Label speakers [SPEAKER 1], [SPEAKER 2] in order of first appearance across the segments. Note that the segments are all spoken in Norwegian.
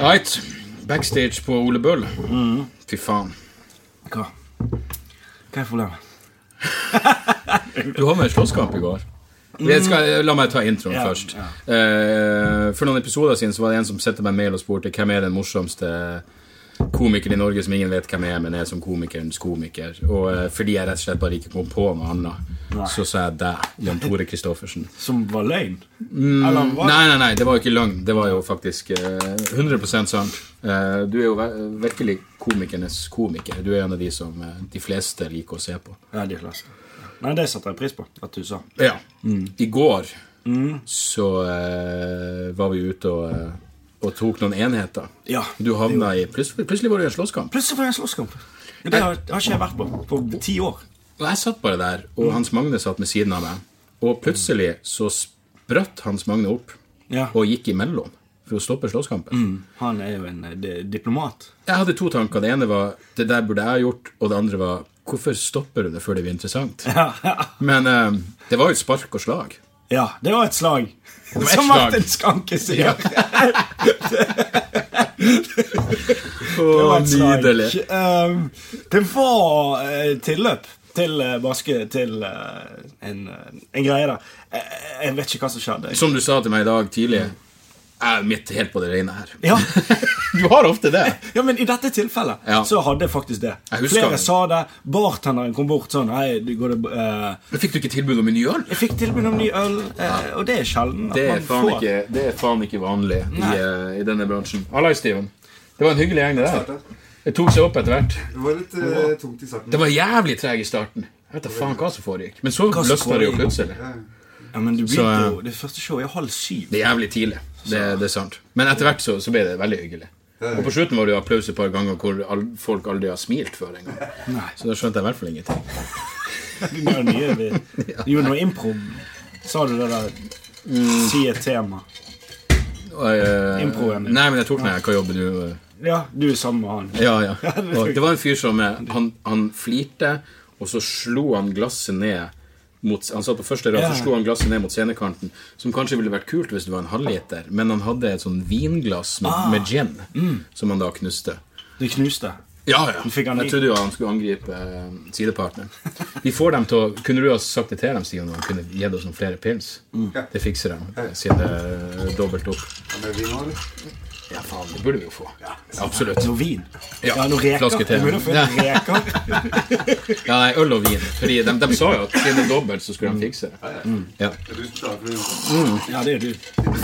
[SPEAKER 1] Right. Backstage på Ole Bøll. Fy faen.
[SPEAKER 2] Hva? Hva er problemet?
[SPEAKER 1] Du var med i slåsskamp i går. Jeg skal, la meg ta introen
[SPEAKER 2] Ja,
[SPEAKER 1] først. Eh, for noen episoder siden så var det en som sendte meg mail og spurte hvem er den morsomste komikeren i Norge som ingen vet hvem er, men er som komikerens komiker. Og eh, fordi jeg rett og slett bare ikke kom på noe annet, så sa jeg deg, Jan Tore Christoffersen.
[SPEAKER 2] Som var løgn?
[SPEAKER 1] Mm.
[SPEAKER 2] Eller hva?
[SPEAKER 1] Nei, nei, nei, det var jo ikke løgn. Det var jo faktisk eh, 100 sant. Eh, du er jo ve- virkelig komikernes komiker. Du er en av de som eh, de fleste liker å se på.
[SPEAKER 2] Ja, de fleste. Nei, det setter jeg pris på at du sa.
[SPEAKER 1] Ja. Mm. I går så eh, var vi ute og, eh, og tok noen enheter.
[SPEAKER 2] Ja.
[SPEAKER 1] Du havna i plutselig, plutselig var du i en slåsskamp.
[SPEAKER 2] Plutselig var det en slåsskamp. Det har, har ikke jeg vært på på ti år.
[SPEAKER 1] Og jeg satt bare der, og Hans Magne satt ved siden av meg. Og plutselig så spratt Hans Magne opp
[SPEAKER 2] Ja.
[SPEAKER 1] og gikk imellom for å stoppe slåsskampen.
[SPEAKER 2] Han er jo en eh, di- diplomat.
[SPEAKER 1] Jeg hadde to tanker. Det ene var det der burde jeg ha gjort, og det andre var hvorfor stopper du det før det blir interessant? Men eh, det var jo et spark og slag.
[SPEAKER 2] Ja, det var et slag.
[SPEAKER 1] var et
[SPEAKER 2] Som
[SPEAKER 1] slag.
[SPEAKER 2] Martin Skanke sier.
[SPEAKER 1] Å,
[SPEAKER 2] Det var et slag.
[SPEAKER 1] nydelig.
[SPEAKER 2] Ehm, det var eh, tilløp til eh, baske til eh, en, en greie der. Eh, jeg vet ikke hva som skjedde.
[SPEAKER 1] Som du sa til meg i dag tidlig, jeg er midt helt på det rene her.
[SPEAKER 2] Ja,
[SPEAKER 1] Du har ofte det.
[SPEAKER 2] ja, men i dette tilfellet
[SPEAKER 1] Ja.
[SPEAKER 2] så hadde jeg faktisk det.
[SPEAKER 1] Jeg husker
[SPEAKER 2] Flere
[SPEAKER 1] det.
[SPEAKER 2] sa det. Bartenderen kom bort sånn Hei, det går det eh,
[SPEAKER 1] Men fikk du ikke tilbud om en ny øl?
[SPEAKER 2] Jeg fikk tilbud om ny øl, eh, og det er sjelden. at
[SPEAKER 1] Det er
[SPEAKER 2] man
[SPEAKER 1] faen
[SPEAKER 2] får-
[SPEAKER 1] ikke, det er faen ikke vanlig i,
[SPEAKER 2] Nei.
[SPEAKER 1] eh, i denne bransjen. Halla, Steven. Det var en hyggelig gjeng, det der. Det tok seg opp etter hvert.
[SPEAKER 3] Det var litt eh, tungt i starten.
[SPEAKER 1] Det var jævlig treg i starten. Jeg vet da faen hva som foregikk. Men så
[SPEAKER 2] Hva som
[SPEAKER 1] løsna det jo
[SPEAKER 2] foregikk?
[SPEAKER 1] plutselig.
[SPEAKER 2] Ja, men du begynte
[SPEAKER 1] Så, eh,
[SPEAKER 2] jo Det første showet er halv syv.
[SPEAKER 1] Det er jævlig tidlig. Det, det er sant. Men etter hvert så, så ble det veldig hyggelig. Og på slutten var det jo applaus et par ganger hvor all, folk aldri har smilt før engang. Så da skjønte jeg i hvert fall ingenting.
[SPEAKER 2] Vi gjorde nye, vi. Vi gjorde noe impro. Sa du det der
[SPEAKER 1] Mm.
[SPEAKER 2] Si et tema.
[SPEAKER 1] Eh,
[SPEAKER 2] Improen, ja.
[SPEAKER 1] Nei, men jeg tok den her. Hva jobber du eh,
[SPEAKER 2] Ja, du er sammen med han.
[SPEAKER 1] Ja, ja.
[SPEAKER 2] Ja, det er
[SPEAKER 1] Og
[SPEAKER 2] sjukt.
[SPEAKER 1] det var en fyr som eh, han, han flirte, og så slo han glasset ned mot, Han satt på første rad,
[SPEAKER 2] Ja.
[SPEAKER 1] så slo han glasset ned mot scenekanten. Som kanskje ville vært kult hvis det var en halvliter, men han hadde et sånn vinglass med,
[SPEAKER 2] Ah.
[SPEAKER 1] med gin,
[SPEAKER 2] Mm.
[SPEAKER 1] som han da knuste.
[SPEAKER 2] Du knuste.
[SPEAKER 1] Ja, ja.
[SPEAKER 2] fikk han
[SPEAKER 1] Jeg
[SPEAKER 2] i-
[SPEAKER 1] trodde jo han skulle angripe eh, sidepartneren. Vi får dem til å Kunne du ha sagt det til dem, Stian, og han kunne gitt oss noen flere pils? Det fikser de, siden det er dobbelt opp.
[SPEAKER 3] Ja, men vi nå, eller?
[SPEAKER 1] Ja, faen, det burde vi jo få. Absolutt.
[SPEAKER 2] Noe vin.
[SPEAKER 1] Ja,
[SPEAKER 2] noe reker.
[SPEAKER 1] flaske te.
[SPEAKER 2] Det er mulig å få
[SPEAKER 1] Ja.
[SPEAKER 2] reker.
[SPEAKER 1] Ja, nei, øl og vin. Fordi de, de sa jo at siden det er dobbelt, så skulle de fikse det. Mm. Ja.
[SPEAKER 3] Ja, Du starter med noe.
[SPEAKER 2] Ja, det er du.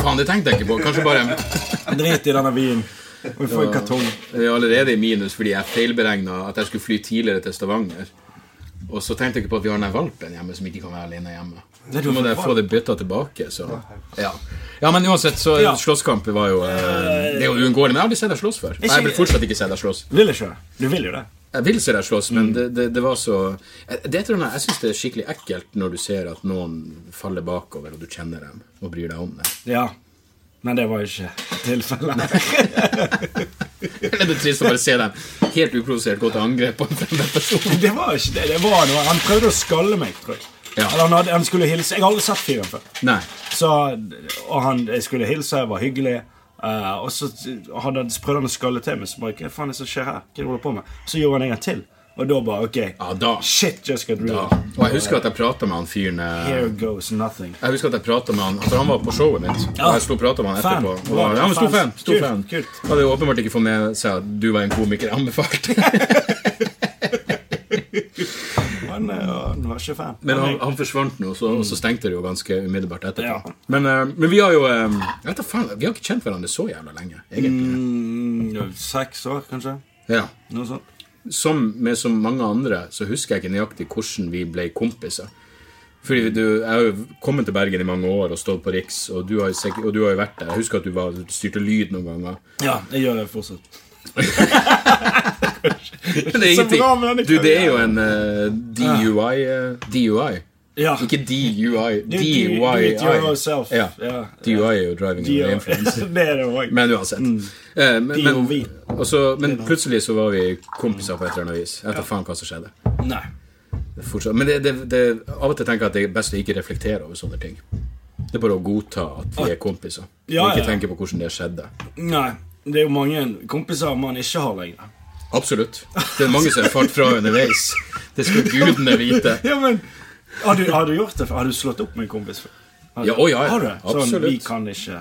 [SPEAKER 1] Faen, det tenkte jeg ikke på. Kanskje bare
[SPEAKER 2] Drit i denne vinen. Vi får en kartong.
[SPEAKER 1] Jeg er allerede i minus fordi jeg feilberegna at jeg skulle fly tidligere til Stavanger. Og så tenkte jeg ikke på at vi har den her valpen hjemme som ikke kan være alene hjemme.
[SPEAKER 2] Nei,
[SPEAKER 1] Nå
[SPEAKER 2] du har
[SPEAKER 1] må
[SPEAKER 2] fått
[SPEAKER 1] jeg få det bytta tilbake, så ja. ja, men uansett, så
[SPEAKER 2] Ja.
[SPEAKER 1] slåsskamp var jo eh, Det er jo uunngåelig. Men jeg har aldri sett deg slåss før. Og jeg vil fortsatt ikke se deg slåss.
[SPEAKER 2] Vil ikke det? Du vil jo det.
[SPEAKER 1] Jeg vil se deg slåss, men det, det, det var så Jeg, det tror jeg, jeg syns det er skikkelig ekkelt når du ser at noen faller bakover, og du kjenner dem og bryr deg om det.
[SPEAKER 2] Ja. Men det var jo ikke tilfellet.
[SPEAKER 1] Eller det er trist å bare se dem helt uprovosert gå til angrep på en fremmed person.
[SPEAKER 2] Det var ikke det. det var noe. Han prøvde å skalle meg, tror jeg.
[SPEAKER 1] Ja.
[SPEAKER 2] Eller han, hadde, han skulle hilse. Jeg har aldri sett fyren før.
[SPEAKER 1] Nei.
[SPEAKER 2] Så, og han jeg skulle hilse, var hyggelig. eh, og så hadde han prøvde han å skalle til meg. Så bare, hva faen er det som skjer her? Hva er det du holder på med? Så gjorde han en gang til. Og da bare ok.
[SPEAKER 1] Ja, da.
[SPEAKER 2] Shit just got real.
[SPEAKER 1] Ja. Og jeg husker at jeg prata med han fyren eh,
[SPEAKER 2] Here goes nothing.
[SPEAKER 1] Jeg husker at jeg pratet med han For han var på showet mitt.
[SPEAKER 2] Ja.
[SPEAKER 1] Og jeg sto og pratet med han
[SPEAKER 2] Ah, Fan.
[SPEAKER 1] etterpå. Og, ja, men stor fan. Stor
[SPEAKER 2] Kult,
[SPEAKER 1] fan.
[SPEAKER 2] kult.
[SPEAKER 1] Hadde jo åpenbart ikke fått med seg at du var en komiker jeg anbefalte.
[SPEAKER 2] Han, eh, han var ikke fan.
[SPEAKER 1] Men han,
[SPEAKER 2] jeg-
[SPEAKER 1] han forsvant nå, så, og så stengte det jo ganske umiddelbart etterpå.
[SPEAKER 2] Ja.
[SPEAKER 1] Men, eh, men vi har jo eh, jeg vet da faen, Vi har ikke kjent hverandre så jævla lenge, egentlig.
[SPEAKER 2] mm, Seks år, kanskje?
[SPEAKER 1] Ja.
[SPEAKER 2] Noe sånt.
[SPEAKER 1] Som med så mange andre så husker jeg ikke nøyaktig hvordan vi ble kompiser. Fordi du, Jeg har jo kommet til Bergen i mange år og stått på Riks, og du har jo, sikk- og du har jo vært der. Jeg husker at du var, styrte lyd noen ganger.
[SPEAKER 2] Ja, jeg gjør det fortsatt.
[SPEAKER 1] Men det er
[SPEAKER 2] Så
[SPEAKER 1] ingenting.
[SPEAKER 2] bra med denne
[SPEAKER 1] Du, det er jo en eh, DUI eh, DUI.
[SPEAKER 2] Ja.
[SPEAKER 1] Ikke DUI.
[SPEAKER 2] Do- do- do
[SPEAKER 1] DUI.
[SPEAKER 2] it yourself.
[SPEAKER 1] Ja.
[SPEAKER 2] Ja.
[SPEAKER 1] DUI er jo driving under influence.
[SPEAKER 2] det er det òg.
[SPEAKER 1] Men uansett.
[SPEAKER 2] Mm.
[SPEAKER 1] Eh, men,
[SPEAKER 2] DOV.
[SPEAKER 1] men, og så- men plutselig så var vi kompiser på et eller annet vis. Jeg vet da faen hva som skjedde.
[SPEAKER 2] Nei.
[SPEAKER 1] Det fortsatt- Men det, det, det, av og til tenker jeg at det er best å ikke reflektere over sånne ting. Det er bare å godta at vi er kompiser,
[SPEAKER 2] Ja,
[SPEAKER 1] og ikke
[SPEAKER 2] ja.
[SPEAKER 1] tenke på hvordan det skjedde.
[SPEAKER 2] Nei. det er jo mange kompiser man ikke har lenger.
[SPEAKER 1] Absolutt. Det er mange som er falt fra underveis. Det skal gudene vite.
[SPEAKER 2] Ja, men Har du, har du gjort det? før? Har du slått opp med en kompis før? Har du-
[SPEAKER 1] Ja, å, ja, ja.
[SPEAKER 2] Har du det? Sånn,
[SPEAKER 1] Absolutt. Um,
[SPEAKER 2] vi kan ikke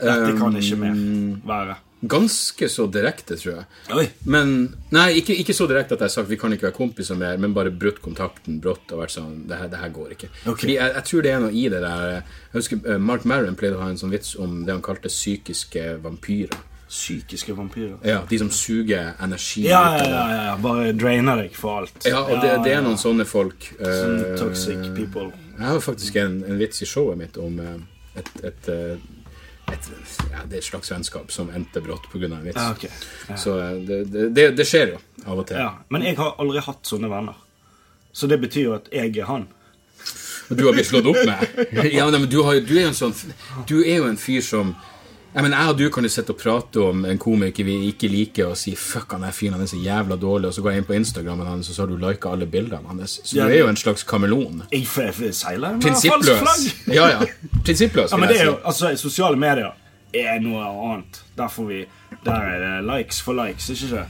[SPEAKER 2] Dette kan ikke mer være.
[SPEAKER 1] Ganske så direkte, tror jeg.
[SPEAKER 2] Oi.
[SPEAKER 1] Men Nei, ikke, ikke så direkte at jeg har sagt vi kan ikke være kompiser mer, men bare brutt kontakten brått og vært sånn Det her, det her går ikke.
[SPEAKER 2] Ok.
[SPEAKER 1] Fordi jeg, jeg tror det er noe i det der Jeg husker eh, Mark Maron pleide å ha en sånn vits om det han kalte psykiske vampyrer.
[SPEAKER 2] Psykiske vampyrer.
[SPEAKER 1] Ja, De som suger energi
[SPEAKER 2] Ja,
[SPEAKER 1] ut av
[SPEAKER 2] ja,
[SPEAKER 1] deg.
[SPEAKER 2] ja, ja, ja. Bare drainer deg for alt.
[SPEAKER 1] Ja, og det, det er noen
[SPEAKER 2] ja.
[SPEAKER 1] sånne folk. eh,
[SPEAKER 2] Sånn toxic people.
[SPEAKER 1] Jeg har jo faktisk en, en vits i showet mitt om eh, et, et, eh, et, ja, det er et slags vennskap som endte brått pga. en vits.
[SPEAKER 2] Ja, ok. Ja.
[SPEAKER 1] Så eh, det, det, det, det skjer jo av og til.
[SPEAKER 2] Ja. Men jeg har aldri hatt sånne venner. Så det betyr jo at jeg er han.
[SPEAKER 1] Og du har blitt slått opp med. Ja, nei, men du, har, jo- du, er jo en sånn, du er jo en fyr som jeg, mener, jeg og du kan jo sitte og prate om en komiker vi ikke liker, og si 'fuck, han der fyren han er så jævla dårlig', og så går jeg inn på Instagrammen hans, og så har du lika alle bildene hans. Så
[SPEAKER 2] Ja.
[SPEAKER 1] du er jo en slags kameleon.
[SPEAKER 2] Jeg f- f- seiler med falskt flagg.
[SPEAKER 1] Prinsippløs. Ja, ja. Prinsippløs,
[SPEAKER 2] Ja,
[SPEAKER 1] vil
[SPEAKER 2] men det
[SPEAKER 1] jeg
[SPEAKER 2] er
[SPEAKER 1] si.
[SPEAKER 2] jo, altså, Sosiale medier er noe annet. Der får vi Der er det likes for likes, ikke det?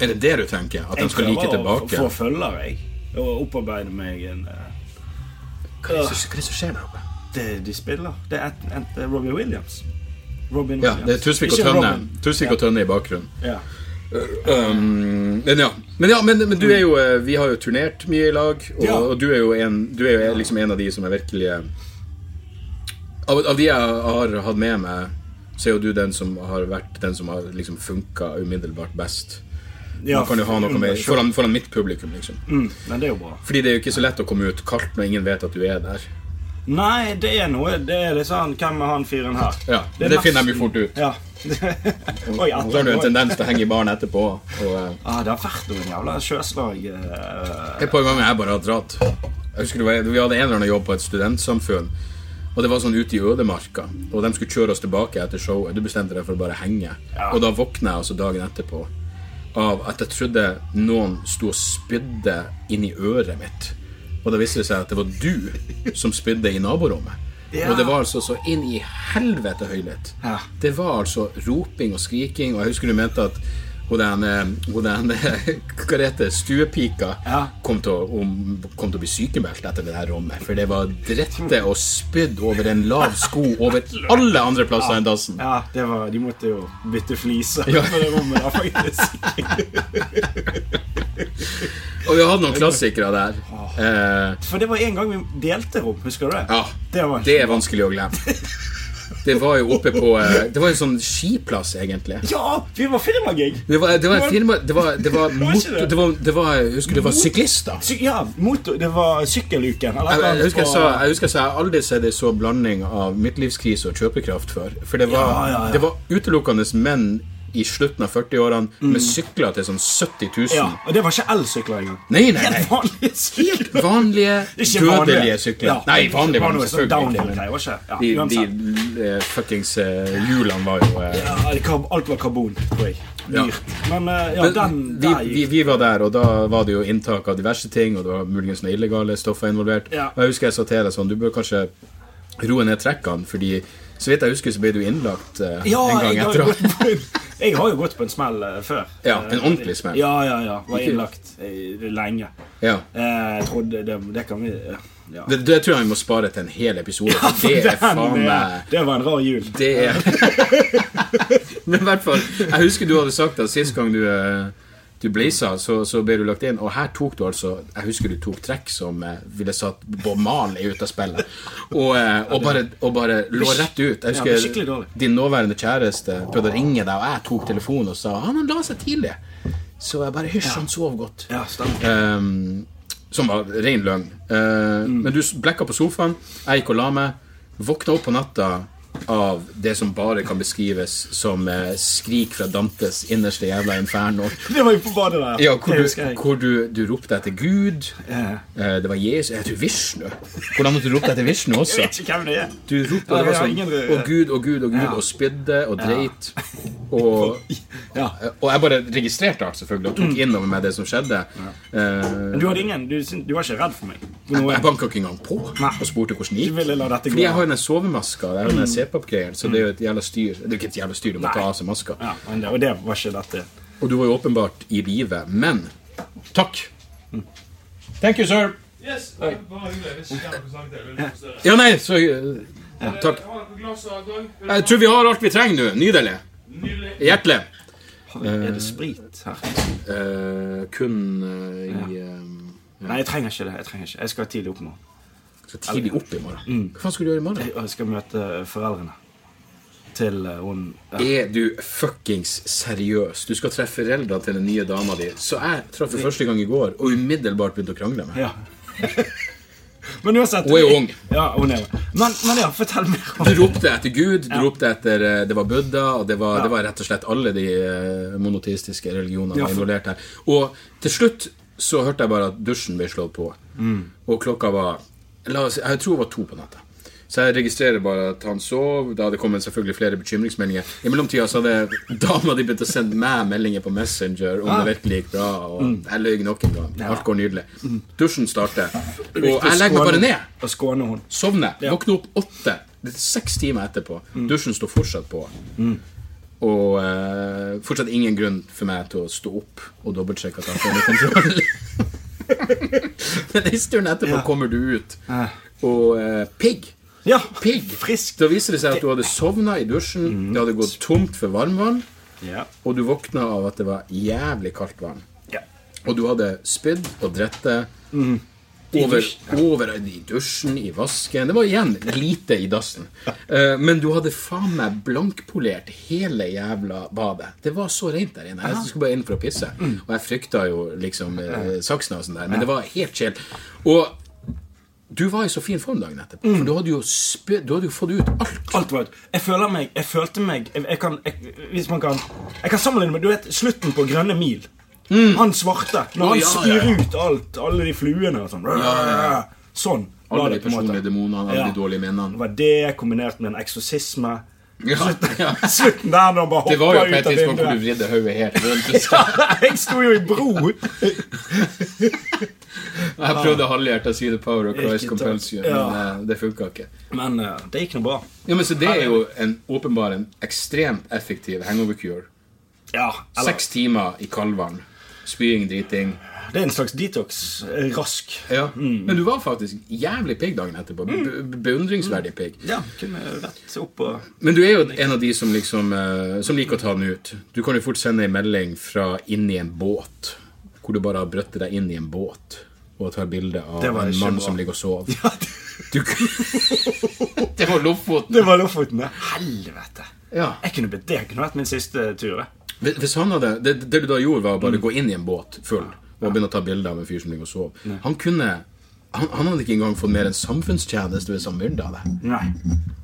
[SPEAKER 1] Er det det du tenker? At de skal like
[SPEAKER 2] å f- få
[SPEAKER 1] tilbake?
[SPEAKER 2] følgere, jeg. Og opparbeide meg en eh,
[SPEAKER 1] Hva er det som- hva er det som skjer der oppe?
[SPEAKER 2] det, De spiller. Det er et, et, det er Robbie Williams. Robin
[SPEAKER 1] Ja,
[SPEAKER 2] Williams.
[SPEAKER 1] det er Tusvik og
[SPEAKER 2] Ikke
[SPEAKER 1] Tønne.
[SPEAKER 2] Robin.
[SPEAKER 1] Tusvik og Tønne i bakgrunnen.
[SPEAKER 2] Ja.
[SPEAKER 1] Um, men ja, men, ja men, men du er jo eh, Vi har jo turnert mye i lag, og,
[SPEAKER 2] Ja.
[SPEAKER 1] og du er jo, en, du er jo liksom en av de som er virkelig eh, av, av de jeg har hatt med meg, så er jo du den som har vært den som har liksom funka umiddelbart best.
[SPEAKER 2] Ja,
[SPEAKER 1] Man kan jo ha noe med
[SPEAKER 2] sure.
[SPEAKER 1] foran, foran mitt publikum, liksom.
[SPEAKER 2] Mm, men det er jo bra.
[SPEAKER 1] Fordi det er jo ikke så lett å komme ut kaldt når ingen vet at du er der.
[SPEAKER 2] Nei, det er noe Det er litt sånn Hvem er han fyren her?
[SPEAKER 1] Ja,
[SPEAKER 2] Det er
[SPEAKER 1] Det finner
[SPEAKER 2] nesten-
[SPEAKER 1] de jo fort ut.
[SPEAKER 2] Ja. Oi,
[SPEAKER 1] Og så har du er en
[SPEAKER 2] Atle. oi.
[SPEAKER 1] tendens til å henge i baren etterpå. Og eh,
[SPEAKER 2] Ah, det har vært noen jævla sjøslag eh,
[SPEAKER 1] Et par ganger jeg bare har dratt. Jeg husker det var, Vi hadde en eller annen jobb på et studentsamfunn. Og det var sånn ute i ødemarka, og de skulle kjøre oss tilbake etter showet. Du bestemte deg for å bare henge.
[SPEAKER 2] Ja.
[SPEAKER 1] Og da våkna jeg altså dagen etterpå av at jeg trodde noen sto og spydde inn i øret mitt. Og da viste det seg at det var du som spydde i naborommet.
[SPEAKER 2] Ja.
[SPEAKER 1] Og det var altså så inn i helvete høylytt.
[SPEAKER 2] Ja.
[SPEAKER 1] Det var altså roping og skriking, og jeg husker du mente at hun den, eh, hun den eh, hva det heter, stuepika
[SPEAKER 2] Ja.
[SPEAKER 1] kom, til å, om, kom til å bli sykemeldt etter det her rommet. For det var drette og spydd over en lav sko over alle andre plasser enn dassen.
[SPEAKER 2] Ja, det var, de måtte jo bytte fliser
[SPEAKER 1] Ja.
[SPEAKER 2] på det rommet der, faktisk.
[SPEAKER 1] Og vi hadde noen klassikere der. Eh,
[SPEAKER 2] For det var en gang vi delte rom, husker du det?
[SPEAKER 1] ja,
[SPEAKER 2] Det var
[SPEAKER 1] det er vanskelig å glemme. Det var jo oppe på eh, Det var en sånn skiplass, egentlig.
[SPEAKER 2] Ja, vi var firmagig!
[SPEAKER 1] Det var, det var en firma Det var, det var,
[SPEAKER 2] var ikke
[SPEAKER 1] motor-
[SPEAKER 2] det.
[SPEAKER 1] det var, det var Jeg husker det var syklister.
[SPEAKER 2] Sy ja, motor, det var sykkeluken. Eller
[SPEAKER 1] Jeg,
[SPEAKER 2] noe
[SPEAKER 1] jeg,
[SPEAKER 2] annet
[SPEAKER 1] husker jeg,
[SPEAKER 2] på-
[SPEAKER 1] sa, jeg husker jeg sa jeg har aldri sett en så blanding av midtlivskrise og kjøpekraft før. For det var,
[SPEAKER 2] Ja, ja, ja.
[SPEAKER 1] Det var utelukkende menn i slutten av 40-årene med sykler til sånn 70 000.
[SPEAKER 2] Mm. Ja, og det var ikke elsykler engang.
[SPEAKER 1] Nei, nei, nei.
[SPEAKER 2] Helt vanlige sykler.
[SPEAKER 1] Helt vanlige,
[SPEAKER 2] Ikke vanlige.
[SPEAKER 1] dødelige sykler.
[SPEAKER 2] Ja.
[SPEAKER 1] Nei, vanlige
[SPEAKER 2] Det var
[SPEAKER 1] var
[SPEAKER 2] noe
[SPEAKER 1] det
[SPEAKER 2] sånn
[SPEAKER 1] selvfølgelig.
[SPEAKER 2] downhill-greier, var ikke? Ja,
[SPEAKER 1] De, de
[SPEAKER 2] uansett.
[SPEAKER 1] eh, fuckings eh, hjulene var jo eh,
[SPEAKER 2] Ja, det kar- alt var karbon, tror jeg.
[SPEAKER 1] Ja.
[SPEAKER 2] Dyrt. Men eh, ja, den
[SPEAKER 1] vi,
[SPEAKER 2] der
[SPEAKER 1] vi,
[SPEAKER 2] gikk
[SPEAKER 1] vi var der, og da var det jo inntak av diverse ting, og det var muligens noen illegale stoffer involvert.
[SPEAKER 2] Ja.
[SPEAKER 1] Og jeg husker jeg sa til deg sånn, du bør kanskje roe ned trekkene, fordi så vidt jeg husker, så ble du innlagt eh,
[SPEAKER 2] ja,
[SPEAKER 1] en gang
[SPEAKER 2] jeg
[SPEAKER 1] etter.
[SPEAKER 2] har, jo
[SPEAKER 1] at-
[SPEAKER 2] gått på en, jeg har jo gått på en smell eh, før.
[SPEAKER 1] Ja,
[SPEAKER 2] Eh,
[SPEAKER 1] en ordentlig smell.
[SPEAKER 2] Ja, ja, ja. Var
[SPEAKER 1] Ikke-
[SPEAKER 2] innlagt eh, lenge.
[SPEAKER 1] Ja.
[SPEAKER 2] Eh, Jeg trodde det, det kan vi eh, ja.
[SPEAKER 1] Det, det tror jeg vi må spare til en hel episode. for det er faen
[SPEAKER 2] Den, eh,
[SPEAKER 1] meg
[SPEAKER 2] det var en rar jul.
[SPEAKER 1] Det er Men i hvert fall, jeg husker du hadde sagt at sist gang du eh, du blaza, så, så ble du lagt inn, og her tok du altså Jeg husker du tok trekk som eh, ville satt Bob Marley ut av spillet, og, eh, og, bare, og bare lå rett ut. Jeg
[SPEAKER 2] Ja, det er skikkelig
[SPEAKER 1] husker
[SPEAKER 2] dårlig.
[SPEAKER 1] din nåværende kjæreste prøvde å ringe deg, og jeg tok telefonen og sa han, han la seg tidlig. Så jeg bare Hysj, han sov godt.
[SPEAKER 2] Ja, stemmer.
[SPEAKER 1] Ehm, som var ren løgn. Eh,
[SPEAKER 2] Mm.
[SPEAKER 1] Men du s- blekka på sofaen, jeg gikk og la meg. Våkna opp på natta av det som bare kan beskrives som eh, skrik fra Dantes innerste jævla inferno.
[SPEAKER 2] Det var jo på badet der.
[SPEAKER 1] Ja, hvor
[SPEAKER 2] det
[SPEAKER 1] du,
[SPEAKER 2] husker jeg.
[SPEAKER 1] hvor du, du ropte etter Gud.
[SPEAKER 2] Eh,
[SPEAKER 1] eh, Det var Jesus Jeg tror Vishnu. Hvordan måtte du rope etter Vishnu
[SPEAKER 2] Jeg
[SPEAKER 1] også?
[SPEAKER 2] vet ikke hvem det er.
[SPEAKER 1] Du ropte og det
[SPEAKER 2] Ja,
[SPEAKER 1] var
[SPEAKER 2] ja,
[SPEAKER 1] sånn
[SPEAKER 2] ingen-
[SPEAKER 1] Og Gud og Gud og Gud,
[SPEAKER 2] Ja.
[SPEAKER 1] og spydde og dreit. Og, eh,
[SPEAKER 2] Ja.
[SPEAKER 1] og jeg bare registrerte alt, selvfølgelig, og
[SPEAKER 2] Mm.
[SPEAKER 1] tok innover meg det som skjedde. Eh,
[SPEAKER 2] Men du, hadde ingen, du, syn- du var ikke redd for meg? For
[SPEAKER 1] jeg
[SPEAKER 2] noe,
[SPEAKER 1] jeg banka ikke engang på
[SPEAKER 2] Nei.
[SPEAKER 1] og spurte hvordan det
[SPEAKER 2] du
[SPEAKER 1] gikk.
[SPEAKER 2] ville la dette gå?
[SPEAKER 1] Fordi jeg har jo den sovemaska og den CPAP-greien, så det er jo et jævla styr. Det er jo ikke et jævla styr, du må
[SPEAKER 2] Nei.
[SPEAKER 1] ta av seg maska.
[SPEAKER 2] ja, men det, og det var ikke dette.
[SPEAKER 1] Og du var jo åpenbart i live, men takk. Thank you, sir.
[SPEAKER 4] Yes, det er bare hyggelig. Hvis ikke jeg hadde snakket til deg, ville
[SPEAKER 1] Ja, nei, så eh, Takk.
[SPEAKER 4] Har dere glass av gang?
[SPEAKER 1] Jeg tror vi har alt vi trenger nå. Nydelig.
[SPEAKER 4] Nydelig.
[SPEAKER 1] Hjertelig.
[SPEAKER 2] Har vi- Er det sprit her?
[SPEAKER 1] Eh, kun eh, i eh,
[SPEAKER 2] Nei, jeg trenger ikke det. Jeg trenger ikke. Jeg skal tidlig opp nå.
[SPEAKER 1] Så tidlig opp i morgen. Hva faen skal du gjøre i morgen?
[SPEAKER 2] Jeg jeg skal møte foreldrene til eh, hun ja.
[SPEAKER 1] Er du fuckings seriøs? Du skal treffe foreldra til den nye dama di. Så jeg traff for første gang i går og umiddelbart begynte å krangle med.
[SPEAKER 2] ja. Men uansett
[SPEAKER 1] Hun er jo ung.
[SPEAKER 2] Ja, hun er jo men, men ja, fortell mer om
[SPEAKER 1] Du ropte etter Gud, du ropte etter eh, Det var Buddha, og det var, det var rett og slett alle de eh, monoteistiske religionene
[SPEAKER 2] Ja,
[SPEAKER 1] var
[SPEAKER 2] for-
[SPEAKER 1] involvert her. Og til slutt så hørte jeg bare at dusjen ble slått på. Og klokka var la oss, Jeg tror det var to på natta. Så jeg registrerer bare at han sov. Da hadde det kommet selvfølgelig flere bekymringsmeldinger. I mellomtida så hadde dama di begynt å sende meg meldinger på Messenger om det virkelig gikk bra. Og jeg løy nok en gang. Alt går nydelig. Dusjen starter. Og jeg legger meg bare ned.
[SPEAKER 2] Og skåne hun.
[SPEAKER 1] Sovne. Våkne opp åtte. Det er seks timer etterpå.
[SPEAKER 2] Mm.
[SPEAKER 1] Dusjen står fortsatt på. Og eh, fortsatt ingen grunn for meg til å stå opp og dobbeltsjekke at jeg har funnet kontroll. Men en stund etterpå
[SPEAKER 2] Ja.
[SPEAKER 1] kommer du ut,
[SPEAKER 2] Ja.
[SPEAKER 1] og eh, pigg.
[SPEAKER 2] Ja,
[SPEAKER 1] Pigg.
[SPEAKER 2] frisk.
[SPEAKER 1] Da viser det seg at du hadde sovna i dusjen,
[SPEAKER 2] Mm.
[SPEAKER 1] det hadde gått tomt for varmvann,
[SPEAKER 2] Ja.
[SPEAKER 1] og du våkna av at det var jævlig kaldt vann.
[SPEAKER 2] ja.
[SPEAKER 1] Og du hadde spydd og drette
[SPEAKER 2] Mm.
[SPEAKER 1] over, over i dusjen, i vasken Det var igjen lite i dassen. Eh, men du hadde faen meg blankpolert hele jævla badet. Det var så rent der inne. Jeg skulle bare inn for å pisse.
[SPEAKER 2] Mm.
[SPEAKER 1] Og jeg frykta jo liksom eh, Saksnasen der, men det var helt chill. Og du var i så fin form dagen etterpå.
[SPEAKER 2] Mm.
[SPEAKER 1] For du hadde jo spydd Du hadde jo fått ut alt.
[SPEAKER 2] Alt var ut. Jeg føler meg Jeg følte meg Jeg, jeg kan jeg, Hvis man kan Jeg kan sammenligne med Du vet slutten på Grønne mil? Han svarte. Når
[SPEAKER 1] Mm. Å,
[SPEAKER 2] han
[SPEAKER 1] ja,
[SPEAKER 2] spyr
[SPEAKER 1] ja, ja.
[SPEAKER 2] ut alt. Alle de fluene og sånn.
[SPEAKER 1] ja,
[SPEAKER 2] Sånn. var
[SPEAKER 1] Alle de
[SPEAKER 2] det på en måte.
[SPEAKER 1] personlige demonene, alle
[SPEAKER 2] Ja.
[SPEAKER 1] de dårlige
[SPEAKER 2] Det
[SPEAKER 1] minnene.
[SPEAKER 2] var det kombinert med en eksorsisme.
[SPEAKER 1] Ja, ja.
[SPEAKER 2] Slutten der når han bare
[SPEAKER 1] Det var jo
[SPEAKER 2] hoppa
[SPEAKER 1] på et
[SPEAKER 2] ut av
[SPEAKER 1] tidspunkt hvor du
[SPEAKER 2] vinduet.
[SPEAKER 1] vridde hodet helt rundt.
[SPEAKER 2] Jeg sto jo i bro!
[SPEAKER 1] Jeg prøvde halvhjertet å si The Power of Christ
[SPEAKER 2] Ikke
[SPEAKER 1] Compulsion,
[SPEAKER 2] sant. Ja.
[SPEAKER 1] men eh, det funka ikke.
[SPEAKER 2] Men eh, det gikk nå bra.
[SPEAKER 1] Ja, men Så det er jo en åpenbar en ekstremt effektiv hangover cure.
[SPEAKER 2] Ja, eller
[SPEAKER 1] Seks timer i kaldvann. Spying, driting.
[SPEAKER 2] Det er en slags detox. eh, Rask.
[SPEAKER 1] Ja. Men du var faktisk jævlig pigg dagen etterpå.
[SPEAKER 2] Mm.
[SPEAKER 1] Be- be- Beundringsverdig pigg.
[SPEAKER 2] Ja, kunne rett opp og
[SPEAKER 1] Men du er jo en av de som liksom eh, Som liker å ta den ut. Du kan jo fort sende en melding fra inni en båt, hvor du bare har brøttet deg inn i en båt, og tar bilde av
[SPEAKER 2] Det var
[SPEAKER 1] en
[SPEAKER 2] ikke
[SPEAKER 1] mann
[SPEAKER 2] bra.
[SPEAKER 1] som ligger og sover.
[SPEAKER 2] Ja, det-
[SPEAKER 1] Du, det var Lofoten.
[SPEAKER 2] Det var Lofoten, ja. Helvete.
[SPEAKER 1] Ja.
[SPEAKER 2] Jeg kunne blitt det. kunne vært min siste tur. eh. jeg.
[SPEAKER 1] Hvis hvis han hadde, det, det du da gjorde, var å
[SPEAKER 2] Mm.
[SPEAKER 1] bare gå inn i en båt full og begynne å ta bilder av en fyr som ligger og sover. Han kunne han, han hadde ikke engang fått mer enn samfunnstjeneste hvis han myrda deg.
[SPEAKER 2] Nei.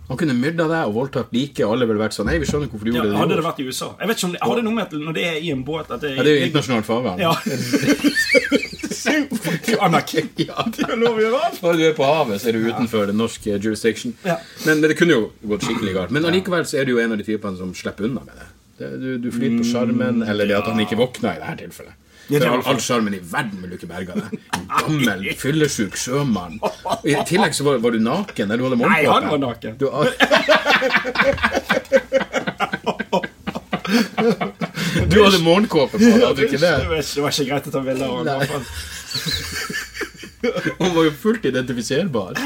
[SPEAKER 1] Han kunne myrda deg og voldtatt like, og alle ville vært sånn Nei, vi skjønner ikke hvorfor du
[SPEAKER 2] Ja,
[SPEAKER 1] gjorde det.
[SPEAKER 2] hadde
[SPEAKER 1] du
[SPEAKER 2] det
[SPEAKER 1] gjorde.
[SPEAKER 2] vært i USA Jeg vet ikke om det, Har det noe med at når det er i en båt at det
[SPEAKER 1] Ja, det er jo internasjonalt farvann.
[SPEAKER 2] Ja. Det er jo anarki.
[SPEAKER 1] Ja.
[SPEAKER 2] Det er jo lov å gjøre alt.
[SPEAKER 1] Når du er på havet, så er du utenfor den norske jurisdiction.
[SPEAKER 2] Ja.
[SPEAKER 1] Men, men det kunne jo gått skikkelig galt. Men allikevel så er du jo en av de typene som slipper unna med det. Det- Du, du flyr på sjarmen, eller det at han ikke våkna i det her tilfellet.
[SPEAKER 2] Mm, Ja, det
[SPEAKER 1] For
[SPEAKER 2] var
[SPEAKER 1] all all sjarmen i verden vil du ikke berge av deg. En Gammel, fyllesyk sjømann. I tillegg så var, var du naken. Eller du hadde
[SPEAKER 2] Nei, han
[SPEAKER 1] morgenkåpe.
[SPEAKER 2] var naken.
[SPEAKER 1] Du, du hadde morgenkåpe på, hadde du ikke det?
[SPEAKER 2] Det var ikke, det var ikke greit å ta bilder av.
[SPEAKER 1] Nei.
[SPEAKER 2] han.
[SPEAKER 1] Han var jo fullt identifiserbar.
[SPEAKER 2] Ja,